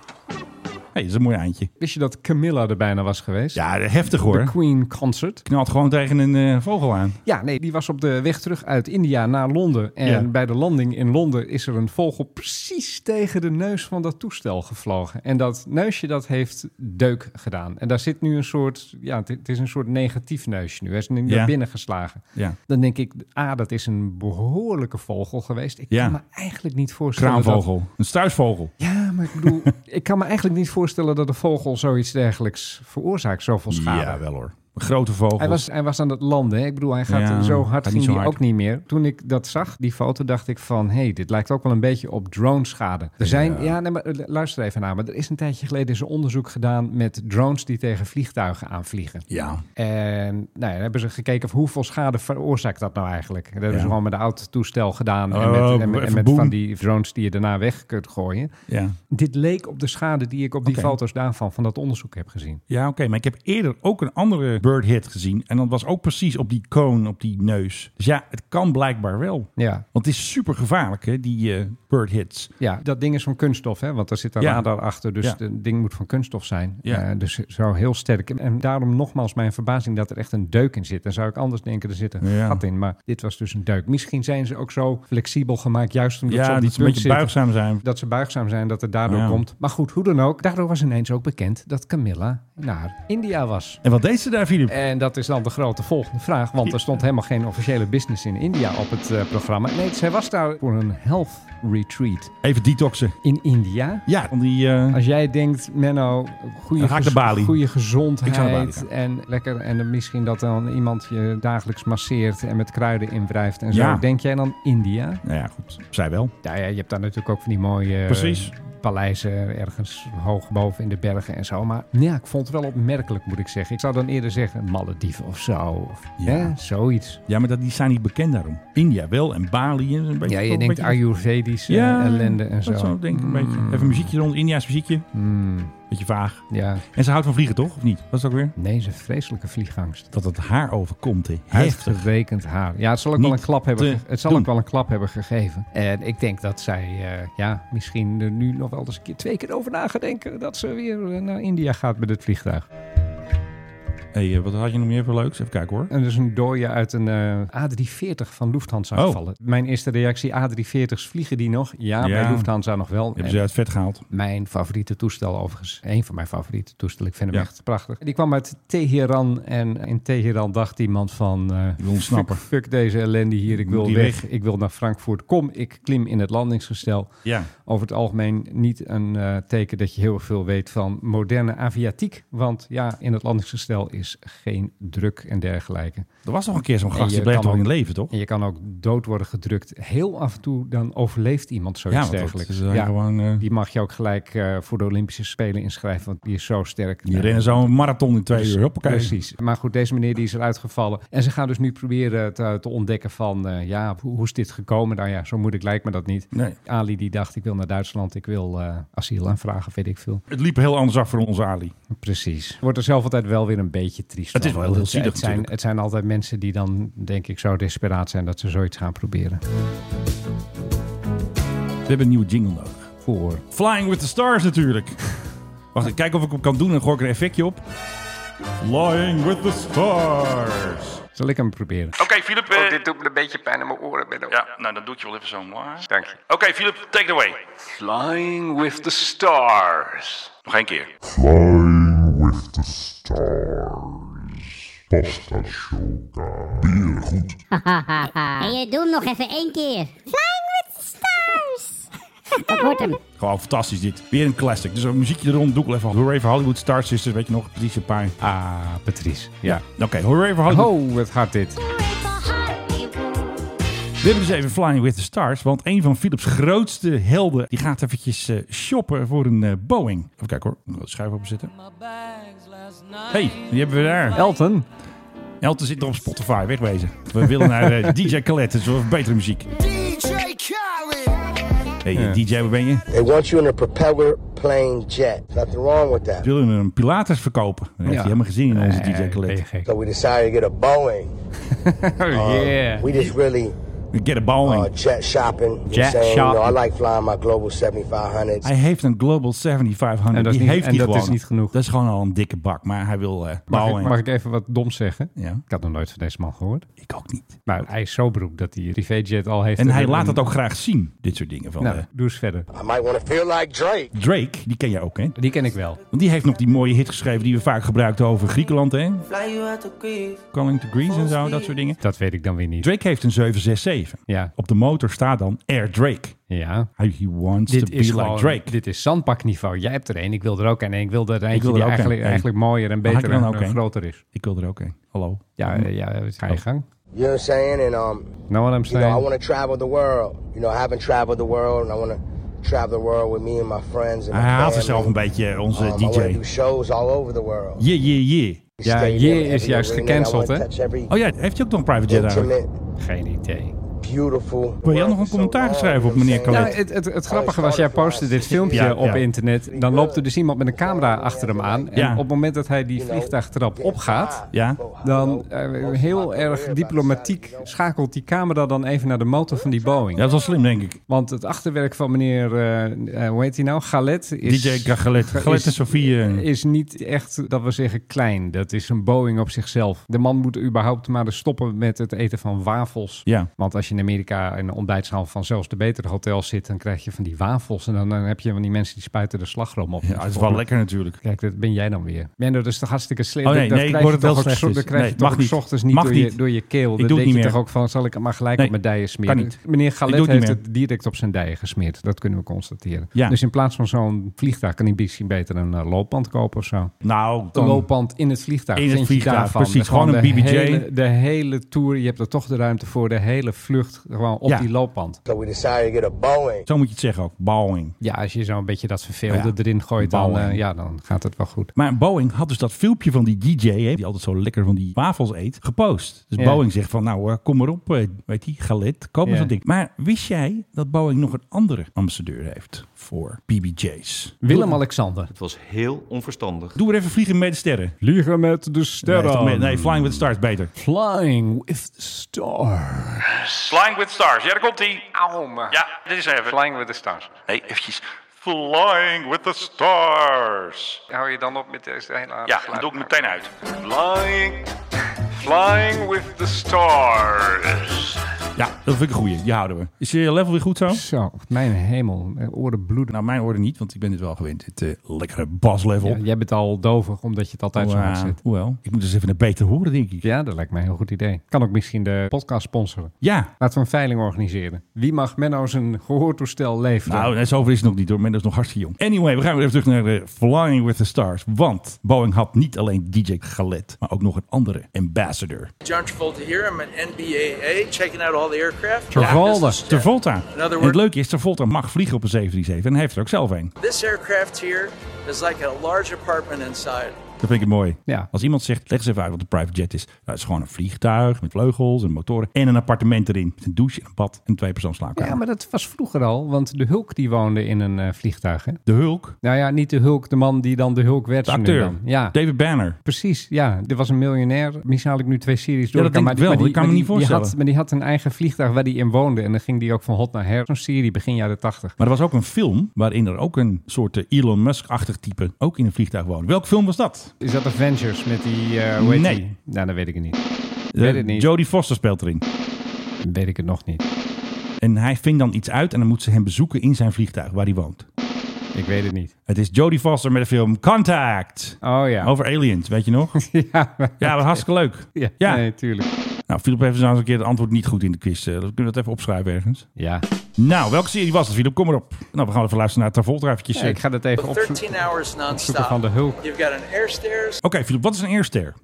L: Hé, dat is een mooi eindje.
K: Wist je dat Camilla er bijna was geweest?
L: Ja, heftig hoor.
K: De Queen Concert.
L: Knalt gewoon tegen een eh, vogel aan.
K: Ja, nee, die was op de weg terug uit India naar Londen. En
L: Ja.
K: bij de landing in Londen is er een vogel precies tegen de neus van dat toestel gevlogen. En dat neusje, dat heeft deuk gedaan. En daar zit nu een soort, ja, het- het is een soort negatief neusje nu. Hij is nu
L: Ja.
K: naar binnen geslagen.
L: Ja.
K: Dan denk ik, ah, dat is een behoorlijke vogel geweest. Ik
L: Ja.
K: kan me eigenlijk niet voorstellen dat-
L: Kraanvogel. Een struisvogel.
K: Ja, maar ik bedoel, ik kan me eigenlijk niet voorstellen dat een vogel zoiets dergelijks veroorzaakt, zoveel schade.
L: Ja, wel hoor. Een grote vogel.
K: Hij was, hij was aan het landen. hè. Ik bedoel, hij gaat
L: Ja,
K: zo hard
L: gaat
K: ging
L: niet zo
K: hij
L: hard.
K: ook niet meer. Toen ik dat zag, die foto, dacht ik van... hé, hey, dit lijkt ook wel een beetje op drone-schade. Er zijn... Ja, nee, maar eh, luister even naar me. Er is een tijdje geleden is een onderzoek gedaan... met drones die tegen vliegtuigen aanvliegen.
L: Ja.
K: En nou, ja, dan hebben ze gekeken... Of hoeveel schade veroorzaakt dat nou eigenlijk. Dat hebben
L: Ja.
K: ze gewoon met een oud toestel gedaan... en
L: Oh,
K: met, en- en
L: even
K: met
L: boem.
K: van die drones die je daarna weg kunt gooien.
L: Ja.
K: Dit leek op de schade die ik op die
L: Oké.
K: foto's daarvan... van dat onderzoek heb gezien.
L: Ja, oké. maar ik heb eerder ook een andere bird hit gezien. En dat was ook precies op die koon, op die neus. Dus ja, het kan blijkbaar wel.
K: Ja.
L: Want het is super gevaarlijk, hè, die eh bird hits.
K: Ja, dat ding is van kunststof, hè? want daar zit een
L: Ja.
K: radar achter. Dus
L: Ja.
K: het ding moet van kunststof zijn.
L: Ja.
K: Eh, dus zo heel sterk. En daarom nogmaals mijn verbazing dat er echt een deuk in zit. Dan zou ik anders denken, er zit een
L: Ja.
K: gat in. Maar dit was dus een deuk. Misschien zijn ze ook zo flexibel gemaakt, juist omdat
L: Ja,
K: ze op
L: dat
K: het
L: ze een
K: punt
L: beetje
K: zitten
L: buigzaam zijn.
K: Dat ze buigzaam zijn, dat het daardoor
L: Ja.
K: komt. Maar goed, hoe dan ook. Daardoor was ineens ook bekend dat Camilla naar India was.
L: En wat deed ze daar, Filip?
K: En dat is dan de grote volgende vraag, want er stond helemaal geen officiële business in India op het eh, programma. Nee, zij was daar voor een health retreat.
L: Even detoxen.
K: In India?
L: Ja, van die... eh,
K: Als jij denkt, Menno, goede,
L: Dan ga ik naar Bali.
K: goede
L: Ik ga naar Bali,
K: gezondheid
L: ja.
K: en lekker. En dan misschien dat dan iemand je dagelijks masseert en met kruiden inwrijft en zo.
L: Ja.
K: Denk jij dan India?
L: nou ja, goed. Zij wel.
K: Nou ja, je hebt daar natuurlijk ook van die mooie eh,
L: Precies.
K: paleizen ergens hoog boven in de bergen en zo. Maar ja, ik vond het wel opmerkelijk, moet ik zeggen. Ik zou dan eerder zeggen Malediven of zo. Of,
L: Ja.
K: hè, zoiets.
L: Ja, maar dat, die zijn niet bekend daarom. India wel en Bali. En een beetje,
K: Ja, je
L: toch een
K: denkt
L: beetje-
K: Ayurvedische ellende en
L: dat
K: zo.
L: denk ik een beetje.
K: Mm.
L: Even muziekje rond, India's muziekje.
K: Hmm,
L: Beetje vaag.
K: ja.
L: En ze houdt van vliegen, toch? Of niet? Was ook weer?
K: Nee, ze heeft vreselijke vliegangst.
L: Dat het haar overkomt, hè. Heftig.
K: Uitgerekend haar. Ja, het zal ook,
L: Niet
K: wel een, klap hebben
L: te
K: ge- het zal
L: doen.
K: ook wel een klap hebben gegeven. En ik denk dat zij eh, ja, misschien er nu nog wel eens een keer, twee keer over na gaat denken dat ze weer eh, naar India gaat met het vliegtuig.
L: Hé, hey, eh, wat had je nog meer voor leuks? Even kijken hoor.
K: En er is een dooie uit een eh, A340 van Lufthansa
L: Oh.
K: gevallen. Mijn eerste reactie, A340's, vliegen die nog? Ja,
L: Ja.
K: bij Lufthansa nog wel.
L: Hebben
K: En
L: ze uit het vet gehaald.
K: Mijn favoriete toestel overigens. Een van mijn favoriete toestellen. Ik vind hem
L: Ja.
K: echt prachtig. Die kwam uit Teheran. En in Teheran dacht iemand van... eh,
L: wil ontsnappen.
K: Fuck, fuck deze ellende hier. Ik
L: Moet
K: wil
L: die
K: weg.
L: weg.
K: Ik wil naar Frankfurt. Kom, ik klim in het landingsgestel.
L: Ja.
K: Over het algemeen niet een eh, teken dat je heel veel weet van moderne aviatiek. Want ja, in het landingsgestel is geen druk en dergelijke.
L: Er was nog een keer zo'n
K: En
L: gast,
K: je
L: die bleef
K: kan
L: nog in
K: ook-
L: leven, toch?
K: En je kan ook dood worden gedrukt. Heel af en toe dan overleeft iemand zoiets
L: want dat
K: dergelijks.
L: is dan gewoon, eh,
K: Die mag je ook gelijk eh, voor de Olympische Spelen inschrijven, want die is zo sterk. Dus
L: Die rennen zo'n marathon in twee uur. Hoppakee.
K: Precies. Maar goed, deze meneer die is eruit gevallen. En ze gaan dus nu proberen te, te ontdekken van, eh, ja, hoe, hoe is dit gekomen? Nou ja, zo moeilijk lijkt me dat niet.
L: Nee.
K: Ali die dacht, ik wil naar Duitsland, ik wil eh, asiel aanvragen, weet ik veel.
L: Het liep heel anders af voor onze Ali.
K: Precies. Wordt er zelf altijd wel weer een beetje triest.
L: Het is
K: van,
L: wel heel
K: want het-
L: zielig
K: Het zijn,
L: natuurlijk.
K: het zijn altijd mensen die dan, denk ik, zo desperaat zijn dat ze zoiets gaan proberen.
L: We hebben een nieuwe jingle nodig.
K: Voor.
L: Flying with the Stars natuurlijk. Wacht, ik kijk of ik hem kan doen en gooi ik er een effectje op. Flying with the Stars.
K: Zal ik hem proberen?
Q: Oké, Philip. eh,
R: Oh, dit doet me een beetje pijn in mijn oren, Benno.
Q: Ja, nou dan doe ik je wel even zo omlaag.
R: Dank je.
Q: Oké, Philip, take it away.
R: Flying with the stars.
Q: Nog één keer.
S: Flying with the stars. Pasta Shoka. Beer goed.
T: en je doet hem nog even één keer. Flying with the stars. Dat wordt hem.
L: Gewoon fantastisch dit. Weer een classic. Dus een muziekje erom. Doe ik wel even. Hooray voor Hollywood Star Sisters. Weet je nog? Patricia Pine.
K: Ah, Patrice. Ja.
L: Oké, hooray voor Hollywood.
K: Oh, wat hard dit.
L: We hebben dus even Flying with the Stars. Want een van Philips grootste helden. Die gaat eventjes eh, shoppen voor een eh, Boeing. Even kijken hoor. Moet ik wel de Schuif opzetten. hey, die hebben we daar.
K: Elton.
L: Elton zit er op Spotify. Wegwezen. We willen naar eh, DJ Colette. Dat is wel betere muziek.
F: DJ Khaled.
L: Hey, eh, DJ, waar ben je?
F: They want you in a propeller plane jet. Nothing wrong with that.
L: Ze willen een Pilatus verkopen. Dat heeft
F: Ja.
L: hij helemaal gezien in onze
F: Nee,
L: DJ Colette.
F: So we decided to get a Boeing.
K: Oh,
F: Um, We just really
L: Get a Boeing.
F: uh, jet shopping. You know
L: Jet
F: what I'm saying? You know, I
L: shopping.
F: like flying my Global 7500s.
L: Hij heeft een Global
K: En
L: 7500.
K: dat is
L: Die
K: niet-
L: heeft
K: en
L: hij
K: dat
L: gewoon.
K: is niet genoeg.
L: Dat is gewoon al een dikke bak. Maar hij wil eh
K: Mag
L: Boeing.
K: ik, mag ik even wat doms zeggen?
L: Ja.
K: Ik had nog nooit van deze man gehoord.
L: Ik ook niet.
K: Maar hij is zo beroemd dat hij privéjet al heeft.
L: En hij
K: een-
L: laat het ook graag zien. Dit soort dingen. Van,
K: Nou,
L: eh,
K: doe eens verder.
F: I might want to feel like Drake.
L: Drake, die ken jij ook, hè?
K: Die ken ik wel.
L: Want die heeft nog die mooie hit geschreven die we vaak gebruikten over Griekenland, hè?
G: Fly you out to grief.
L: Calling to Greece en zo, dat soort dingen.
K: Dat weet ik dan weer niet.
L: Drake heeft een 767.
K: Ja.
L: Op de motor staat dan Air Drake.
K: Ja.
L: He wants
K: dit
L: to
K: is
L: be like
K: gewoon-
L: Drake.
K: Dit is zandbakniveau. Jij hebt er één, ik wil er ook een. En ik wil er
L: Ik
K: eentje
L: wil
K: die
L: er ook
K: eigenlijk,
L: een.
K: eigenlijk mooier
L: Mag
K: en
L: ik
K: beter
L: er
K: en
L: dan ook
K: en
L: een? Mm. Oh.
K: groter is.
L: Ik wil er ook een. Hallo.
K: Ja, eh, ja, eh, ga je gang.
F: You know what I'm saying? And um,
K: Nou, what I'm
F: you know, I
K: saying?
F: want to travel the world. You know, I haven't traveled the world, and I want to travel the world with me and my friends and
K: eh,
L: Hij
F: my
L: haalt
F: family.
L: zichzelf een beetje, onze
F: Um, I want to
L: DJ.
F: do shows all over the world.
L: Yeah, yeah, yeah.
K: Ja, je is juist gecanceld, hè?
L: Oh ja, heeft hij ook nog een private jet eigenlijk?
F: Intimate,
K: Geen idee.
F: beautiful.
L: Wil jij nog een commentaar schrijven op meneer
K: Nou,
L: Colet?
K: het, het, het grappige was, jij postte dit filmpje
L: Ja,
K: op
L: ja.
K: internet. Dan loopt er dus iemand met een camera achter hem aan. En
L: Ja.
K: op het moment dat hij die vliegtuigtrap opgaat,
L: Ja.
K: dan eh, heel erg diplomatiek schakelt die camera dan even naar de motor van die Boeing.
L: Ja, dat was slim, denk ik.
K: Want het achterwerk van meneer, eh, eh, hoe heet hij nou? Galet is.
L: DJ Galet.
K: Ga-
L: Galet en
K: is-
L: Sofie. eh,
K: is niet echt, dat we zeggen, klein. Dat is een Boeing op zichzelf. De man moet überhaupt maar eens stoppen met het eten van wafels.
L: Ja.
K: Want als je in Amerika in een ontbijtschaal van zelfs de betere hotels zit, dan krijg je van die wafels. En dan, dan heb je van die mensen die spuiten de slagroom op.
L: Ja, het is wel lekker natuurlijk.
K: Kijk, dat ben jij dan weer. Mendo, dat is toch hartstikke slim.
L: Oh, nee,
K: Dat- dat
L: nee, ik
K: krijg
L: word
K: je
L: het
K: toch
L: wel
K: ook
L: slecht,
K: zo- Dan
L: dus.
K: krijg je
L: Nee,
K: toch
L: mag
K: ook
L: niet.
K: 's ochtends niet,
L: Mag
K: door,
L: niet.
K: Je, door je keel.
L: Ik
K: dan
L: doe het
K: denk je
L: niet
K: toch
L: meer.
K: ook van, zal ik het maar gelijk
L: Nee,
K: op mijn dijen smeren?
L: kan niet.
K: Meneer
L: Ik doe
K: Galet
L: het niet
K: heeft
L: meer.
K: het direct op zijn dijen gesmeerd. Dat kunnen we constateren.
L: Ja.
K: Dus in plaats van zo'n vliegtuig kan hij misschien beter een eh, loopband kopen of zo.
L: Nou,
K: Een
L: dan-
K: loopband in het vliegtuig.
L: In het
K: vind je
L: vliegtuig,
K: daarvan.
L: precies. Gewoon een
K: de
L: BBJ.
K: Hele, de hele tour, je hebt er toch de ruimte voor, de hele vlucht gewoon op
L: Ja.
K: die loopband.
F: So we decided to get a Boeing.
L: zo moet je het zeggen ook. Boeing.
K: Ja, als je zo'n beetje dat verveelde
L: Ja.
K: erin gooit, dan,
L: Bouwen.
K: eh, ja, dan gaat het wel goed.
L: Maar Boeing had dus dat filmpje van die DJ, hè, die altijd zo lekker van die wafels eet, gepost. Dus
K: Ja.
L: Boeing zegt van, nou, eh, kom maar op, eh, weet je, galet, koop maar
K: Ja.
L: zo'n ding. Maar wist jij dat Boeing nog een andere ambassadeur heeft voor BBJ's?
K: Willem-Alexander.
M: Het was heel onverstandig.
L: Doe er even vliegen met de sterren.
K: Vliegen met de sterren.
L: Nee, toch met- nee, Flying with the Stars beter.
K: Flying with the stars.
Q: Flying with stars. Ja, daar komt hij.
K: Auw, maar.
Q: Ja, dit is even.
K: Flying with the stars.
Q: Nee, eventjes. Flying with the stars.
K: Hou je dan op met deze hele
Q: Ja, dat doe ik meteen uit. Flying, flying with the stars.
L: Ja, dat vind ik een goeie. Die houden we. Is je level weer goed zo?
K: Zo, mijn hemel. Mijn oren bloeden.
L: Nou, mijn oren niet, want ik ben dit wel gewend. Dit eh, lekkere baslevel.
K: Ja, jij bent al dovig, omdat je het altijd zo hard
L: Hoewel,
K: zit.
L: Hoewel, ik moet dus even een beter horen, denk ik.
K: Ja, dat lijkt mij een heel goed idee. Kan ook misschien de podcast sponsoren.
L: Ja.
K: Laten we een veiling organiseren. Wie mag Menno zijn gehoortoestel leveren?
L: Nou, nee, zover is het nog niet hoor. Men is nog hartstikke jong. Anyway, we gaan weer even terug naar eh, Flying with the Stars. Want Boeing had niet alleen DJ Galet, maar ook nog een andere ambassador.
U: John Travolta here. I'm at NBAA checking out all the aircraft.
L: Travolta.
U: This, is-
L: Travolta.
U: In other
L: En het
U: words-
L: leuke is, Travolta mag vliegen op een 737 en hij heeft er ook zelf een.
U: this aircraft here is like a large apartment inside.
L: Dat vind ik mooi.
K: Ja.
L: Als iemand zegt, leg eens even uit wat een private jet is. Nou, het is gewoon een vliegtuig met vleugels en motoren en een appartement erin. Met een douche en een bad en twee persoons slaapkamer.
K: Ja, maar dat was vroeger al, want de Hulk die woonde in een eh, vliegtuig. Hè?
L: De Hulk,
K: Nou ja, niet de Hulk, de man die dan de Hulk werd.
L: de
K: zo nu
L: acteur,
K: dan. Ja.
L: David Banner.
K: Precies, ja. Er was een miljonair. Misschien haal ik nu twee series door.
L: dat
K: elkaar,
L: denk ik wel.
K: die-
L: Dat kan me
K: die-
L: niet
K: die had-
L: voorstellen.
K: maar die had een eigen vliegtuig waar die in woonde. En dan ging die ook van hot naar her. Zo'n serie begin jaren tachtig.
L: Maar er was ook een film waarin er ook een soort eh, Elon Musk-achtig type ook in een vliegtuig woonde. Welk film was dat?
K: Is dat Avengers met die... eh hoe heet
L: Nee.
K: die? Nou, dat weet ik het niet. weet het niet.
L: Eh, Jodie Foster speelt erin.
K: Weet ik het nog niet.
L: En hij vindt dan iets uit en dan moet ze hem bezoeken in zijn vliegtuig waar hij woont.
K: Ik weet het niet.
L: Het is Jodie Foster met de film Contact.
K: Oh ja.
L: Over aliens, weet je nog?
K: ja,
L: Ja, dat was hartstikke leuk.
K: ja,
L: Ja.
K: Nee, tuurlijk.
L: Nou, Philip heeft nou eens een keer het antwoord niet goed in de quiz. Eh, Kunnen we dat even opschrijven ergens?
K: Ja.
L: Nou, welke serie was het, Philip? Kom maar op. Nou, we gaan even luisteren naar Travolta eventjes.
K: Ja, ik ga dat even opzoeken.
U: 13 hours
K: Zoeken van
U: nonstop.
K: de Hulk.
U: You've got an air stairs.
L: Oké, Philip, wat is een eerster?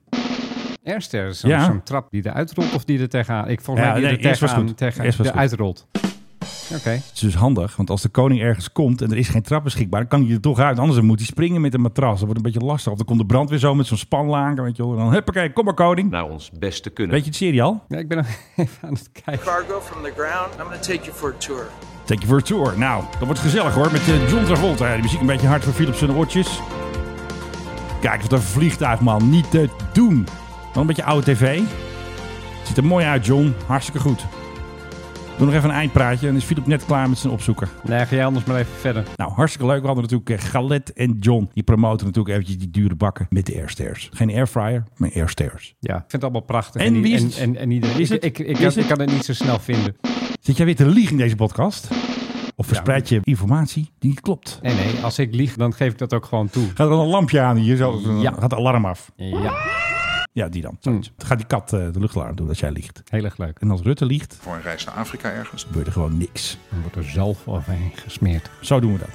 K: Eerste is zo'n
L: Ja.
K: zo'n trap die eruit rolt of die er tegenaan. Ik volgens
L: Ja,
K: mij die
L: nee,
K: er
L: eerst was
K: tegenaan,
L: goed.
K: tegen,
L: Eerst was goed.
K: eruit rolt. Oké.
L: Het is dus handig, want als de koning ergens komt en er is geen trap beschikbaar, dan kan hij er toch uit. Anders moet hij springen met een matras. Dat wordt een beetje lastig. Of dan komt de brandweer zo met zo'n spanlaken, weet je wel. En Dan huppakee, kom maar koning.
K: Nou,
M: Naar ons best te kunnen.
L: Weet je het serie al?
K: Ja, ik ben nog even aan het kijken.
U: Cargo from the ground. I'm going to take you for a tour.
L: Take you for a tour. Nou, dat wordt gezellig hoor, met eh, John Travolta. De muziek een beetje hard voor Philip zijn oortjes. Kijk, wat een vliegtuig man, niet te doen. Wel een beetje oude tv. Ziet er mooi uit John, hartstikke goed. Doe nog even een eindpraatje en is Philip net klaar met zijn opzoeker.
K: Nee, ga jij anders maar even verder.
L: Nou, hartstikke leuk. We hadden natuurlijk eh, Galet en John. Die promoten natuurlijk eventjes die dure bakken met de airstairs. Geen airfryer, maar airstairs.
K: Ja, ik vind het allemaal prachtig.
L: En
K: i-
L: wie is het?
K: En, en, iedereen.
L: Wie is
K: Ik,
L: het?
K: ik, ik,
L: Wie is
K: ik
L: het?
K: kan het niet zo snel vinden.
L: Zit jij weer te liegen in deze podcast? Of verspreid je informatie die niet klopt?
K: Nee, nee. Als ik lieg, dan geef ik dat ook gewoon toe.
L: Gaat er dan een lampje aan hier? Zo,
K: Ja.
L: Gaat het alarm af?
K: Ja.
L: Ja, die dan.
K: Hmm.
L: Zoiets. Dan gaat die kat eh, de luchtalarm doen als jij liegt.
K: Heel erg leuk.
L: En als Rutte liegt,
E: Voor een reis naar Afrika ergens.
L: gebeurt er gewoon niks.
K: Dan wordt er zelf overheen gesmeerd.
L: Zo doen we dat.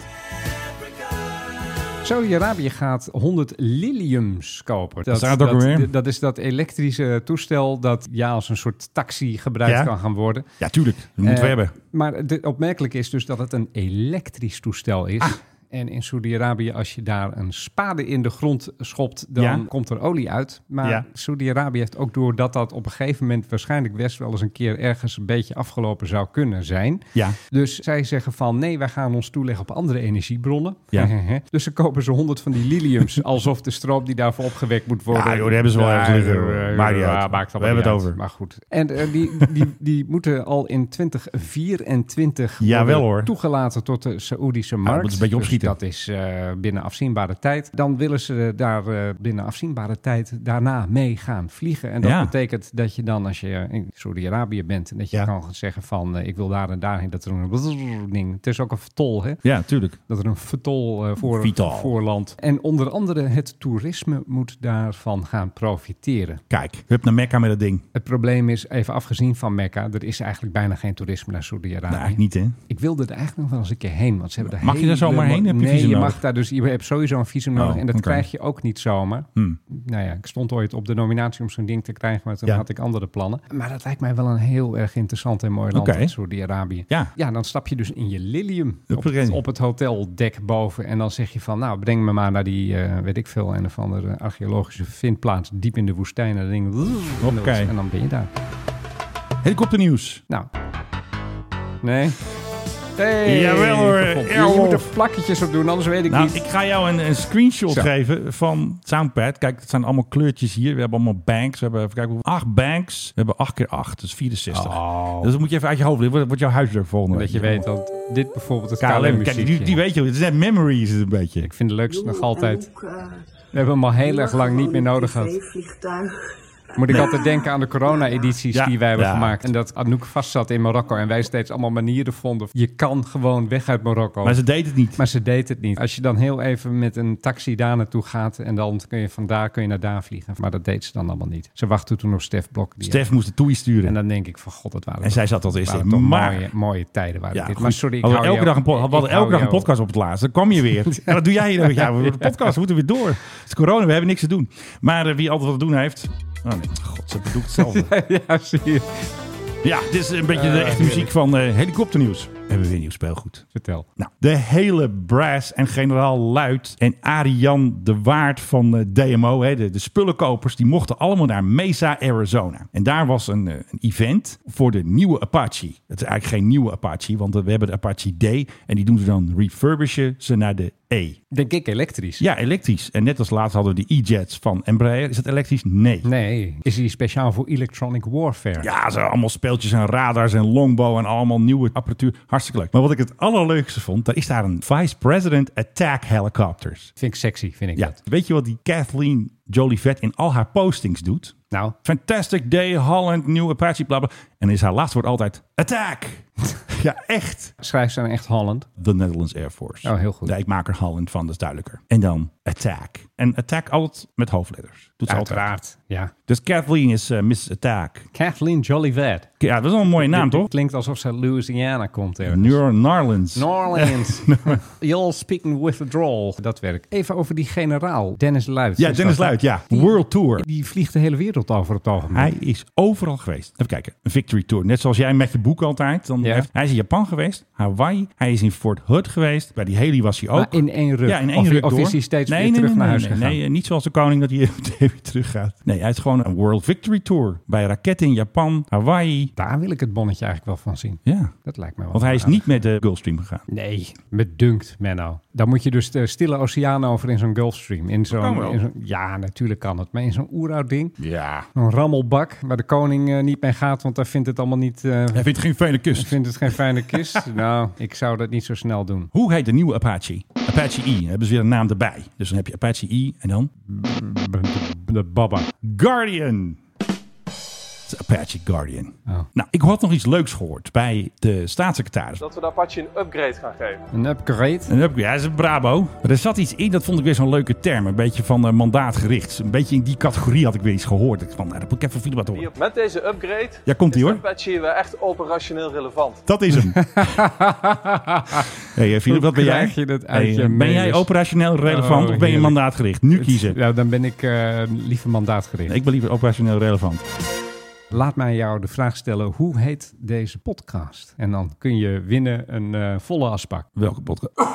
K: Saudi-Arabië gaat 100 liliums kopen.
L: Wat is dat ook alweer?
K: dat is dat elektrische toestel dat ja, als een soort taxi gebruikt
L: Ja?
K: kan gaan worden.
L: Ja, tuurlijk. Dat moeten we
K: Eh,
L: hebben.
K: Maar het opmerkelijk is dus dat het een elektrisch toestel is.
L: Ah.
K: En in Saudi-Arabië, als je daar een spade in de grond schopt, dan
L: Ja.
K: komt er olie uit. Maar
L: Ja.
K: Saudi-Arabië heeft ook door dat dat op een gegeven moment waarschijnlijk best wel eens een keer ergens een beetje afgelopen zou kunnen zijn.
L: Ja.
K: Dus zij zeggen van nee, wij gaan ons toeleggen op andere energiebronnen.
L: Ja.
K: dus ze kopen ze 100 van die liliums, alsof de stroom die daarvoor opgewekt moet worden.
L: Ja, joh, die hebben ze wel
K: Ja,
L: ergens liggen, hoor.
K: eh,
L: Maakt niet
K: ja,
L: uit.
K: maakt allemaal
L: We hebben
K: niet
L: het
K: uit.
L: over.
K: Maar goed. En eh, die, die, die moeten al in 2024
L: Jawel,
K: worden
L: hoor.
K: toegelaten tot de Saoedische
L: dat
K: markt.
L: moet een beetje
K: Dus
L: opschieten.
K: dat is eh, binnen afzienbare tijd. Dan willen ze daar eh, binnen afzienbare tijd daarna mee gaan vliegen. En dat
L: Ja.
K: betekent dat je dan, als je in Saudi-Arabië bent, en dat je kan gaan zeggen van eh, ik wil daar en daarheen, dat er een brrrr ding. Het is ook een vertol, hè?
L: Ja, tuurlijk.
K: Dat er een vertol eh, voor
L: Vitaal.
K: voorland. En onder andere het toerisme moet daarvan gaan profiteren.
L: Kijk, hup naar Mekka met dat ding.
K: Het probleem is, even afgezien van Mekka, er is eigenlijk bijna geen toerisme naar Saudi-Arabië.
L: Nou, eigenlijk niet, hè?
K: Ik wilde er eigenlijk nog wel eens een keer heen, want ze hebben daar
L: Mag je daar
K: helemaal-
L: zomaar heen? Heb je
K: nee,
L: visum
K: je
L: nodig?
K: mag daar dus, je hebt sowieso een visum nodig
L: Oh,
K: en dat
L: oké.
K: krijg je ook niet zomaar.
L: Hmm.
K: Nou ja, ik stond ooit op de nominatie om zo'n ding te krijgen, maar toen
L: Ja.
K: had ik andere plannen. Maar dat lijkt mij wel een heel erg interessant en mooi land,
L: Oké.
K: Saudi-Arabië.
L: Ja.
K: dan stap je dus in je Lilium op
L: Huppakee.
K: het, op het hoteldek boven en dan zeg je van, nou, breng me maar naar die, eh, weet ik veel, een of andere archeologische vindplaats diep in de woestijn. En dan denk ik,
L: Hoppakee.
K: en dan ben je daar.
L: Helikopternieuws.
K: Nou. Nee. Hey,
L: Jawel hoor,
K: Begon. Je,
L: Errol.
K: je moet er plakketjes op doen, anders weet ik
L: Nou,
K: niet.
L: ik ga jou een, een screenshot
K: Zo.
L: geven van Soundpad. Kijk, het zijn allemaal kleurtjes hier. We hebben allemaal banks. We hebben even kijken, hoeveel- acht banks. We hebben acht keer acht, dus 64. Dus dat moet je even uit je hoofd. Dit wordt, wordt jouw huiswerk volgende
K: Dat Oh. je weet dat dit bijvoorbeeld het
L: KLM,
K: KLM-muziekje
L: kijk, die, die weet je, het is net memory is het een beetje.
K: Ik vind het leukste nog altijd. We hebben hem al heel erg lang niet meer nodig gehad.
B: vliegtuig.
K: Moet ik altijd denken aan de corona-edities die wij hebben
L: ja.
K: gemaakt. En dat Anouk vast zat in Marokko en wij steeds allemaal manieren vonden. Je kan gewoon weg uit Marokko.
L: Maar ze deed het niet.
K: Maar ze deed het niet. Als je dan heel even met een taxi daar naartoe gaat en dan kun je vandaar kun je naar daar vliegen. Maar dat deed ze dan allemaal niet. Ze wachtte toen op Stef Blok. Die
L: Stef moest de toei sturen.
K: En dan denk ik van god, dat waren
L: En zij zat dat eerst
K: waren
L: in.
K: toch
L: Maar-
K: mooie, mooie tijden waren
L: Ja,
K: dit.
L: goed.
K: Maar sorry, ik
L: hadden
K: hou
L: elke
K: jou-
L: dag een, pod-
K: ik-
L: we hadden elke
K: ik hou
L: dag een
K: jou-
L: podcast op het laatst. Dan kwam je weer. En dat doe jij hier. dan. Ja, we hebben een podcast, we moeten weer door. Het is corona, we hebben niks te doen. Maar eh, wie altijd wat te doen heeft... Oh nee, god, ze bedoelt hetzelfde.
K: ja, zie je.
L: Ja, dit is een beetje de
K: Eh,
L: echte muziek
K: heerlijk.
L: van eh, helikopternieuws. We hebben weer nieuw speelgoed.
K: Vertel.
L: Nou, de hele brass en generaal Luit en Arian de Waard van eh, DMO, hè, de, de spullenkopers, die mochten allemaal naar Mesa, Arizona. En daar was een, eh, een event voor de nieuwe Apache. Het is eigenlijk geen nieuwe Apache, want eh, we hebben de Apache D en die doen ze dan refurbishen ze naar de E.
K: Denk ik elektrisch.
L: Ja, elektrisch. En net als laatst hadden we de E-Jets van Embraer. Is dat elektrisch? Nee.
K: Nee, is die speciaal voor electronic warfare?
L: Ja, ze hadden allemaal speeltjes en radars en longbow en allemaal nieuwe apparatuur. Hartstikke leuk. Maar wat ik het allerleukste vond, daar is daar een Vice President Attack Helicopters.
K: Vind ik sexy, vind ik
L: ja.
K: dat.
L: Weet je wat die Kathleen Jolivet in al haar postings doet?
K: Nou.
L: Fantastic Day, Holland, New Apache, bla bla. En is haar laatste woord altijd attack. ja, echt.
K: Schrijf ze dan echt Holland?
L: The Netherlands Air Force.
K: Oh, heel goed.
L: Daar ik maak er Holland van, dat is duidelijker. En dan attack. En attack altijd met hoofdletters. Doet ze altijd.
K: Uiteraard, ja.
L: Dus Kathleen is eh, Miss Attack.
K: Kathleen Jolivet.
L: Ja, dat is wel een mooie naam,
K: Dit- dit
L: toch?
K: Klinkt alsof ze uit Louisiana komt. ergens.
L: New Orleans.
K: New Orleans. You're speaking with a drawl. Dat werkt. Even over die generaal, Dennis Luit.
L: Ja,
K: Is
L: Dennis
K: dat, hè?
L: Luit, ja. World Tour.
K: Die vliegt de hele wereld over op het ogenblik.
L: Hij is overal geweest. Even kijken, een Victory Tour. Net zoals jij met je boek altijd. Dan heeft, hij is in Japan geweest, Hawaii. Hij is in Fort Hood geweest. Bij die heli was hij ook.
K: Maar in één ruk.
L: Ja, in één
K: Of-
L: ruk
K: of
L: door.
K: is hij steeds
L: nee,
K: weer
L: nee,
K: terug
L: nee,
K: naar
L: nee,
K: huis
L: nee,
K: gegaan?
L: Nee, niet zoals de koning dat hij meteen weer terug gaat. Nee, hij is gewoon een World Victory Tour. Bij raketten in Japan, Hawaii.
K: Daar wil ik het bonnetje eigenlijk wel van zien.
L: Ja,
K: Dat lijkt me wel.
L: want hij is
K: aardig.
L: niet met de Gulfstream gegaan.
K: Nee, me dunkt, Menno. Dan moet je dus de stille oceaan over in zo'n Gulfstream. In
L: Kan
K: zo'n,
L: wel.
K: in zo'n- ja, natuurlijk kan het. Maar in zo'n oeroud ding.
L: Ja.
K: Een rammelbak waar de koning eh, niet mee gaat, want hij vindt het allemaal niet... eh,
L: Hij vindt geen fijne
K: hij
L: kust.
K: vindt het geen fijne kist. nou, ik zou dat niet zo snel doen.
L: Hoe heet de nieuwe Apache? Apache E. Daar hebben ze weer een naam erbij. Dus dan heb je Apache E en dan
K: De baba.
L: Guardian. Last Apache Guardian.
K: Oh.
L: Nou, ik had nog iets leuks gehoord bij de staatssecretaris.
B: Dat we de Apache een upgrade gaan geven.
K: Een upgrade?
L: Een upgrade, ja, dat is een Brabo. Maar er zat iets in, dat vond ik weer zo'n leuke term. Een beetje van eh, mandaatgericht. Een beetje in die categorie had ik weer iets gehoord. Ik van, nou, dat moet ik even van wat horen.
B: Hier, met deze upgrade
L: Ja, komt-ie,
B: is
L: hoor.
B: Apache weer echt operationeel relevant.
L: Dat is hem. hey, eh, Filip,
K: Hoe
L: wat ben jij?
K: krijg je dat uit
L: Hey, eh,
K: je
L: ben jij
K: mailers?
L: operationeel relevant
K: Oh,
L: of ben je
K: heerlijk.
L: mandaatgericht? Nu kiezen.
K: Ja, dan ben ik eh, liever mandaatgericht.
L: ik ben liever operationeel relevant.
K: Laat mij jou de vraag stellen, hoe heet deze podcast? En dan kun je winnen een eh, volle asbak.
L: Welke podcast?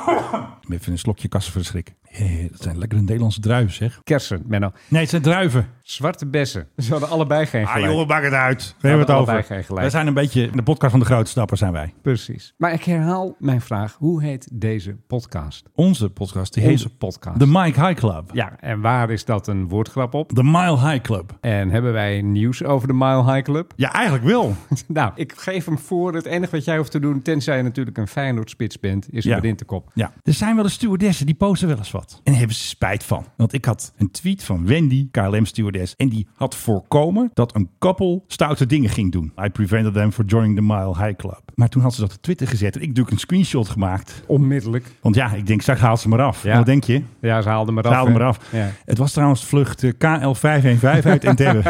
L: Even een slokje kassen voor de schrik. Hé, dat zijn lekkere Nederlandse druiven, zeg.
K: Kersen, Menno.
L: Nee, het zijn druiven.
K: Zwarte bessen. Ze hadden allebei geen
L: Ah
K: gelijk.
L: joh, maak het uit. We
K: We
L: hebben het
K: hadden allebei geen
L: over.
K: gelijk.
L: We zijn een beetje de podcast van de grote stappen zijn wij.
K: Precies. Maar ik herhaal mijn vraag. Hoe heet deze podcast?
L: Onze podcast, die
K: Onze
L: heet
K: podcast.
L: De Mike High Club.
K: Ja, en waar is dat een woordgrap op?
L: De Mile High Club.
K: En hebben wij nieuws over de Mile High Club?
L: Ja, eigenlijk wel.
K: nou, ik geef hem voor. Het enige wat jij hoeft te doen, tenzij je natuurlijk een Feyenoord-spits bent, is
L: Ja.
K: hem erin te kop.
L: Ja, er zijn wel de stewardessen die posten wel eens wat. En daar hebben ze spijt van. Want ik had een tweet van Wendy, KLM-stewardess. En die had voorkomen dat een koppel stoute dingen ging doen. I prevented them from joining the Mile High Club. Maar toen had ze dat op Twitter gezet. En ik heb natuurlijk een screenshot gemaakt.
K: Onmiddellijk.
L: Want ja, ik denk, straks haalt ze maar af.
K: Ja.
L: En Wat denk je?
K: Ja, ze haalden me
L: Ze
K: af.
L: haalden
K: hè?
L: maar af.
K: Ja.
L: Het was trouwens vlucht eh, KL515 uit Entebbe.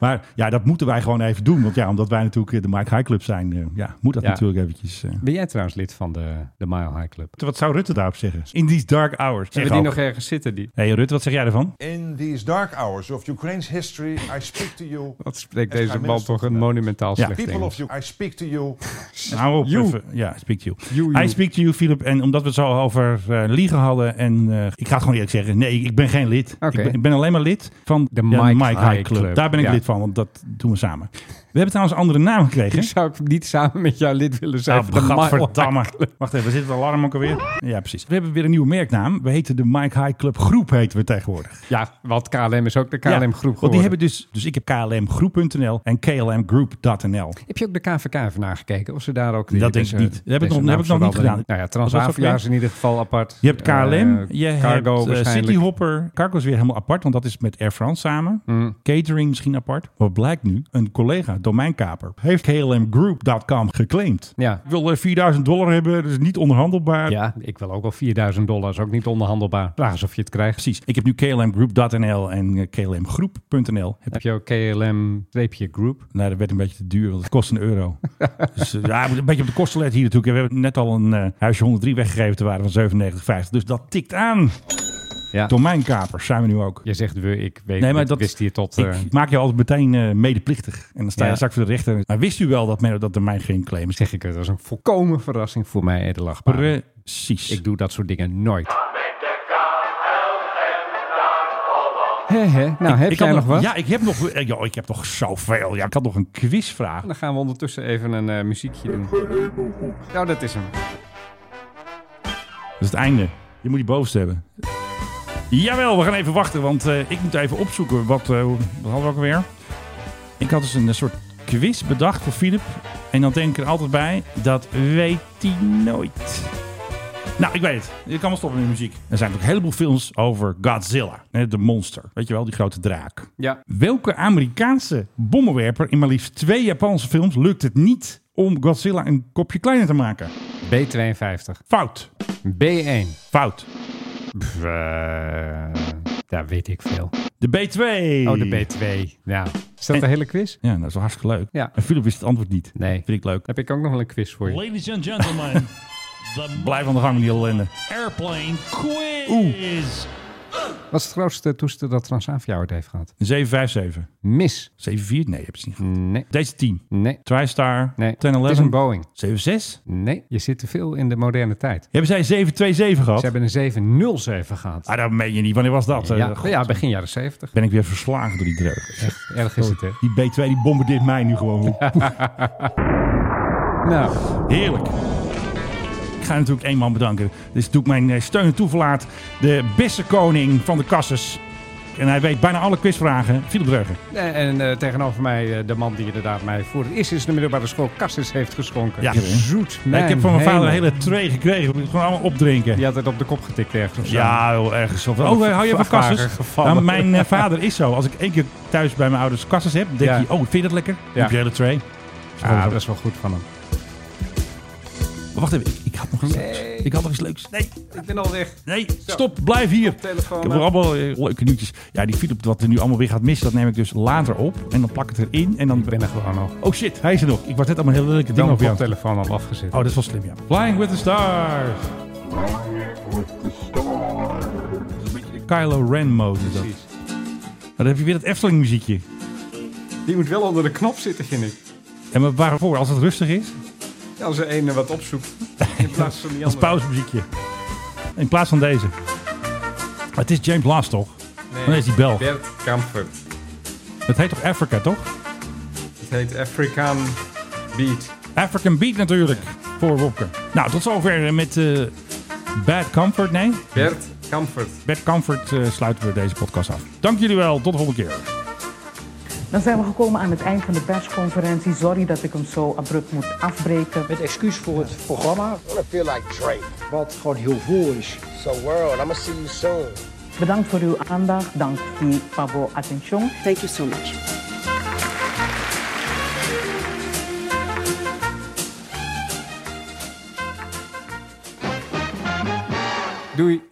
L: maar ja, dat moeten wij gewoon even doen. Want ja, omdat wij natuurlijk eh, de Mike High Club zijn, eh, ja, moet dat
K: Ja.
L: natuurlijk eventjes. eh.
K: Ben jij trouwens lid van de, de Mile High Club?
L: Wat zou Rutte daarop zeggen? In these dark hours.
K: Hebben die nog Eh, ergens zitten? Die?
L: Hey Rutte, wat zeg jij ervan?
V: In these dark hours of Ukraine's history, I speak to you.
K: Wat spreekt
V: as
K: deze
V: Prime
K: man
V: Minister.
K: toch een monumentaal
L: Ja.
K: slecht
V: People of
K: Engels.
V: you, I speak to you.
L: Nou op,
K: You.
L: even. Ja, speak to you.
K: You, you.
L: I speak to you, Philip. En omdat we het zo over eh, liegen hadden. En eh, ik ga het gewoon eerlijk zeggen. Nee, ik ben geen lid.
K: Oké.
L: Ik, ben, ik ben alleen maar lid van de Mike, High, Club. Daar ben ik
K: Ja.
L: lid van, want dat doen we samen. We hebben trouwens een andere naam gekregen.
K: Zou ik niet samen met jou lid willen zijn?
L: Ah,
K: van de Mile High
L: gadverdamme.
K: Club?
L: Wacht even, zit het alarm ook alweer? Ja, precies. We hebben weer een nieuwe merknaam. We heten de Mike High Club Groep, heten we tegenwoordig.
K: Ja, want KLM is ook de KLM
L: Ja,
K: Groep geworden.
L: Want die hebben dus, dus ik heb klmgroep.nl en klmgroep.nl.
K: Heb je ook de KVK even nagekeken? Of ze daar ook... eh,
L: Dat denk ik niet. Dat heb ik nog- dat heb ik nog niet gedaan.
K: Nou ja,
L: Wat was het ook
K: Transavia
L: weer?
K: is in ieder geval apart.
L: Je hebt KLM, je
K: Cargo
L: hebt eh,
K: waarschijnlijk.
L: Cityhopper. Cargo is weer helemaal apart, want dat is met Air France samen.
K: Mm.
L: Catering misschien apart. Wat blijkt nu? Een collega, domeinkaper, heeft klmgroup.com geclaimd.
K: Ja.
L: Ik wil eh, 4000 dollar hebben, dat is niet onderhandelbaar.
K: Ja, ik wil ook wel 4000 dollar. Is ook niet onderhandelbaar. Vraag eens of je het krijgt.
L: Precies. Ik heb nu klmgroup.nl en eh, klmgroep.nl. Heb
K: Heb je ook KLM-group?
L: Nou, dat werd een beetje te duur, want het kost een euro. dus eh, ja, een beetje op de kosten letten hier natuurlijk. We hebben net al een eh, huisje 103 weggegeven te waarde van 97,50. Dus dat tikt aan.
K: Ja.
L: Domeinkapers zijn we nu ook.
K: Je zegt we, ik weet
L: Nee, maar
K: het,
L: dat
K: wist hier tot...
L: Ik
K: eh,
L: maak je altijd meteen eh, medeplichtig. En dan sta je
K: Ja.
L: straks voor de rechter. Maar wist u wel dat, men, dat er mij geen claim is?
K: Zeg ik, het was een volkomen verrassing voor mij, Ede Lachbaan.
L: Precies.
K: Ik doe dat soort dingen nooit. Hè, hè. Nou, heb
L: ik
K: jij
L: had
K: nog wat?
L: Ja, ik heb nog, eh, joh, ik heb nog zoveel. Ja, ik had nog een quizvraag.
K: Dan gaan we ondertussen even een eh, muziekje doen. Nou, dat is hem.
L: Dat is het einde. Je moet die bovenste hebben. Jawel, we gaan even wachten, want eh, ik moet even opzoeken. Wat, eh, wat hadden we ook alweer? Ik had dus een, eh, soort quiz bedacht voor Philip. En dan denk ik er altijd bij, dat weet hij nooit. Nou, ik weet het. Je kan wel stoppen met muziek. Er zijn ook een heleboel films over Godzilla, hè, de monster. Weet je wel, die grote draak.
K: Ja.
L: Welke Amerikaanse bommenwerper in maar liefst twee Japanse films lukt het niet om Godzilla een kopje kleiner te maken?
K: B52.
L: Fout.
K: B1.
L: Fout.
K: Pff, eh, daar weet ik veel.
L: De B2.
K: Oh, de B2. Ja. Is dat
L: En-
K: de hele quiz?
L: Ja, nou, dat is wel hartstikke leuk.
K: Ja.
L: En Philip wist het antwoord niet.
K: Nee.
L: Vind ik leuk.
K: Heb ik ook nog wel een quiz voor je.
W: Ladies and gentlemen, the
L: Blijf aan de gang met die ellende.
W: airplane quiz.
K: Wat is het grootste toestel dat Transavia ooit heeft gehad?
L: Een 757.
K: Mis.
L: 74? Nee, heb je niet gehad.
K: Nee.
L: Deze 10.
K: Nee.
L: TriStar.
K: Nee. Het is
L: 1011.
K: een Boeing.
L: 76.
K: Nee. Je zit te veel in de moderne tijd.
L: Hebben zij 727 gehad?
K: Ze hebben een 707 gehad.
L: Ah, dat meen je niet. Wanneer was dat? Eh,
K: ja,
L: god.
K: ja, begin jaren 70.
L: Ben ik weer verslagen door die dreug.
K: Echt erg is het, hè?
L: Die B2 die bombardeert mij nu gewoon.
K: Nou,
L: Heerlijk. Ik ga natuurlijk één man bedanken. Dus doe ik mijn eh, steun en toeverlaat. De beste koning van de kasses. En hij weet bijna alle quizvragen. Philip Dreugen.
K: En, en eh, tegenover mij eh, de man die inderdaad mij voor het eerst is de middelbare school Cassis heeft geschonken.
L: Ja.
K: Zoet
L: Nee,
K: mijn
L: ik heb van mijn vader een
K: hemel.
L: hele tray gekregen. Ik moet het gewoon allemaal opdrinken.
K: Die had het op de kop getikt ergens of zo.
L: Ja, joh, ergens. Of,
K: Wel
L: oh,
K: een
L: eh, hou je van
K: vrachtwagen
L: kassers?
K: gevallen.
L: Nou, mijn eh, vader is zo. Als ik één keer thuis bij mijn ouders kassers heb, denk
K: Ja.
L: je, oh, vind je dat lekker?
K: Ja.
L: Heb je een hele tray?
K: Ah, dat is wel goed van hem.
L: Wacht even, ik- ik had nog iets leuks.
K: Nee.
L: Ik had nog iets leuks. Nee,
K: ik ben al weg.
L: Nee, stop, blijf hier.
K: telefoon
L: Ik heb
K: af.
L: er allemaal eh, leuke nieuwtjes. Ja, die Philip, wat er nu allemaal weer gaat missen, dat neem ik dus later op. En dan plak ik het erin. En dan... Ik
K: ben er gewoon nog.
L: Oh shit, hij is er nog. Ik was net allemaal heel leuke dingen
K: Dan
L: over
K: heb
L: jou.
K: ik de telefoon al afgezet.
L: Oh, dat is wel slim, ja. Flying with the Stars. Kylo Ren mode is dat. Nou, dan heb je weer dat Efteling muziekje.
K: Die moet wel onder de knop zitten, vind ik.
L: En maar waarvoor? Als het rustig is?
K: Ja, als er één wat opzoekt. In plaats van die
L: Als
K: andere.
L: pauzemuziekje. In plaats van deze. Maar het is James Last, toch?
K: Nee,
L: Dan is die Belg.
K: Bert Kamper.
L: Het heet toch Africa, toch?
K: Het heet Afrikaan Beat.
L: African Beat natuurlijk, voor Wopke. Nou, tot zover met eh, Bad Comfort, nee?
K: Bert Kamper.
L: Bad Comfort eh, sluiten we deze podcast af. Dank jullie wel, tot de volgende keer.
C: Dan zijn we gekomen aan het eind van de persconferentie. Sorry dat ik hem zo abrupt moet afbreken. Met excuus voor het programma.
F: I wanna feel like Drake.
C: Wat gewoon heel vol is.
F: So world, I'ma see you soon.
C: Bedankt voor uw aandacht. Dank die Pablo Attention. Thank you so much.
K: Doei.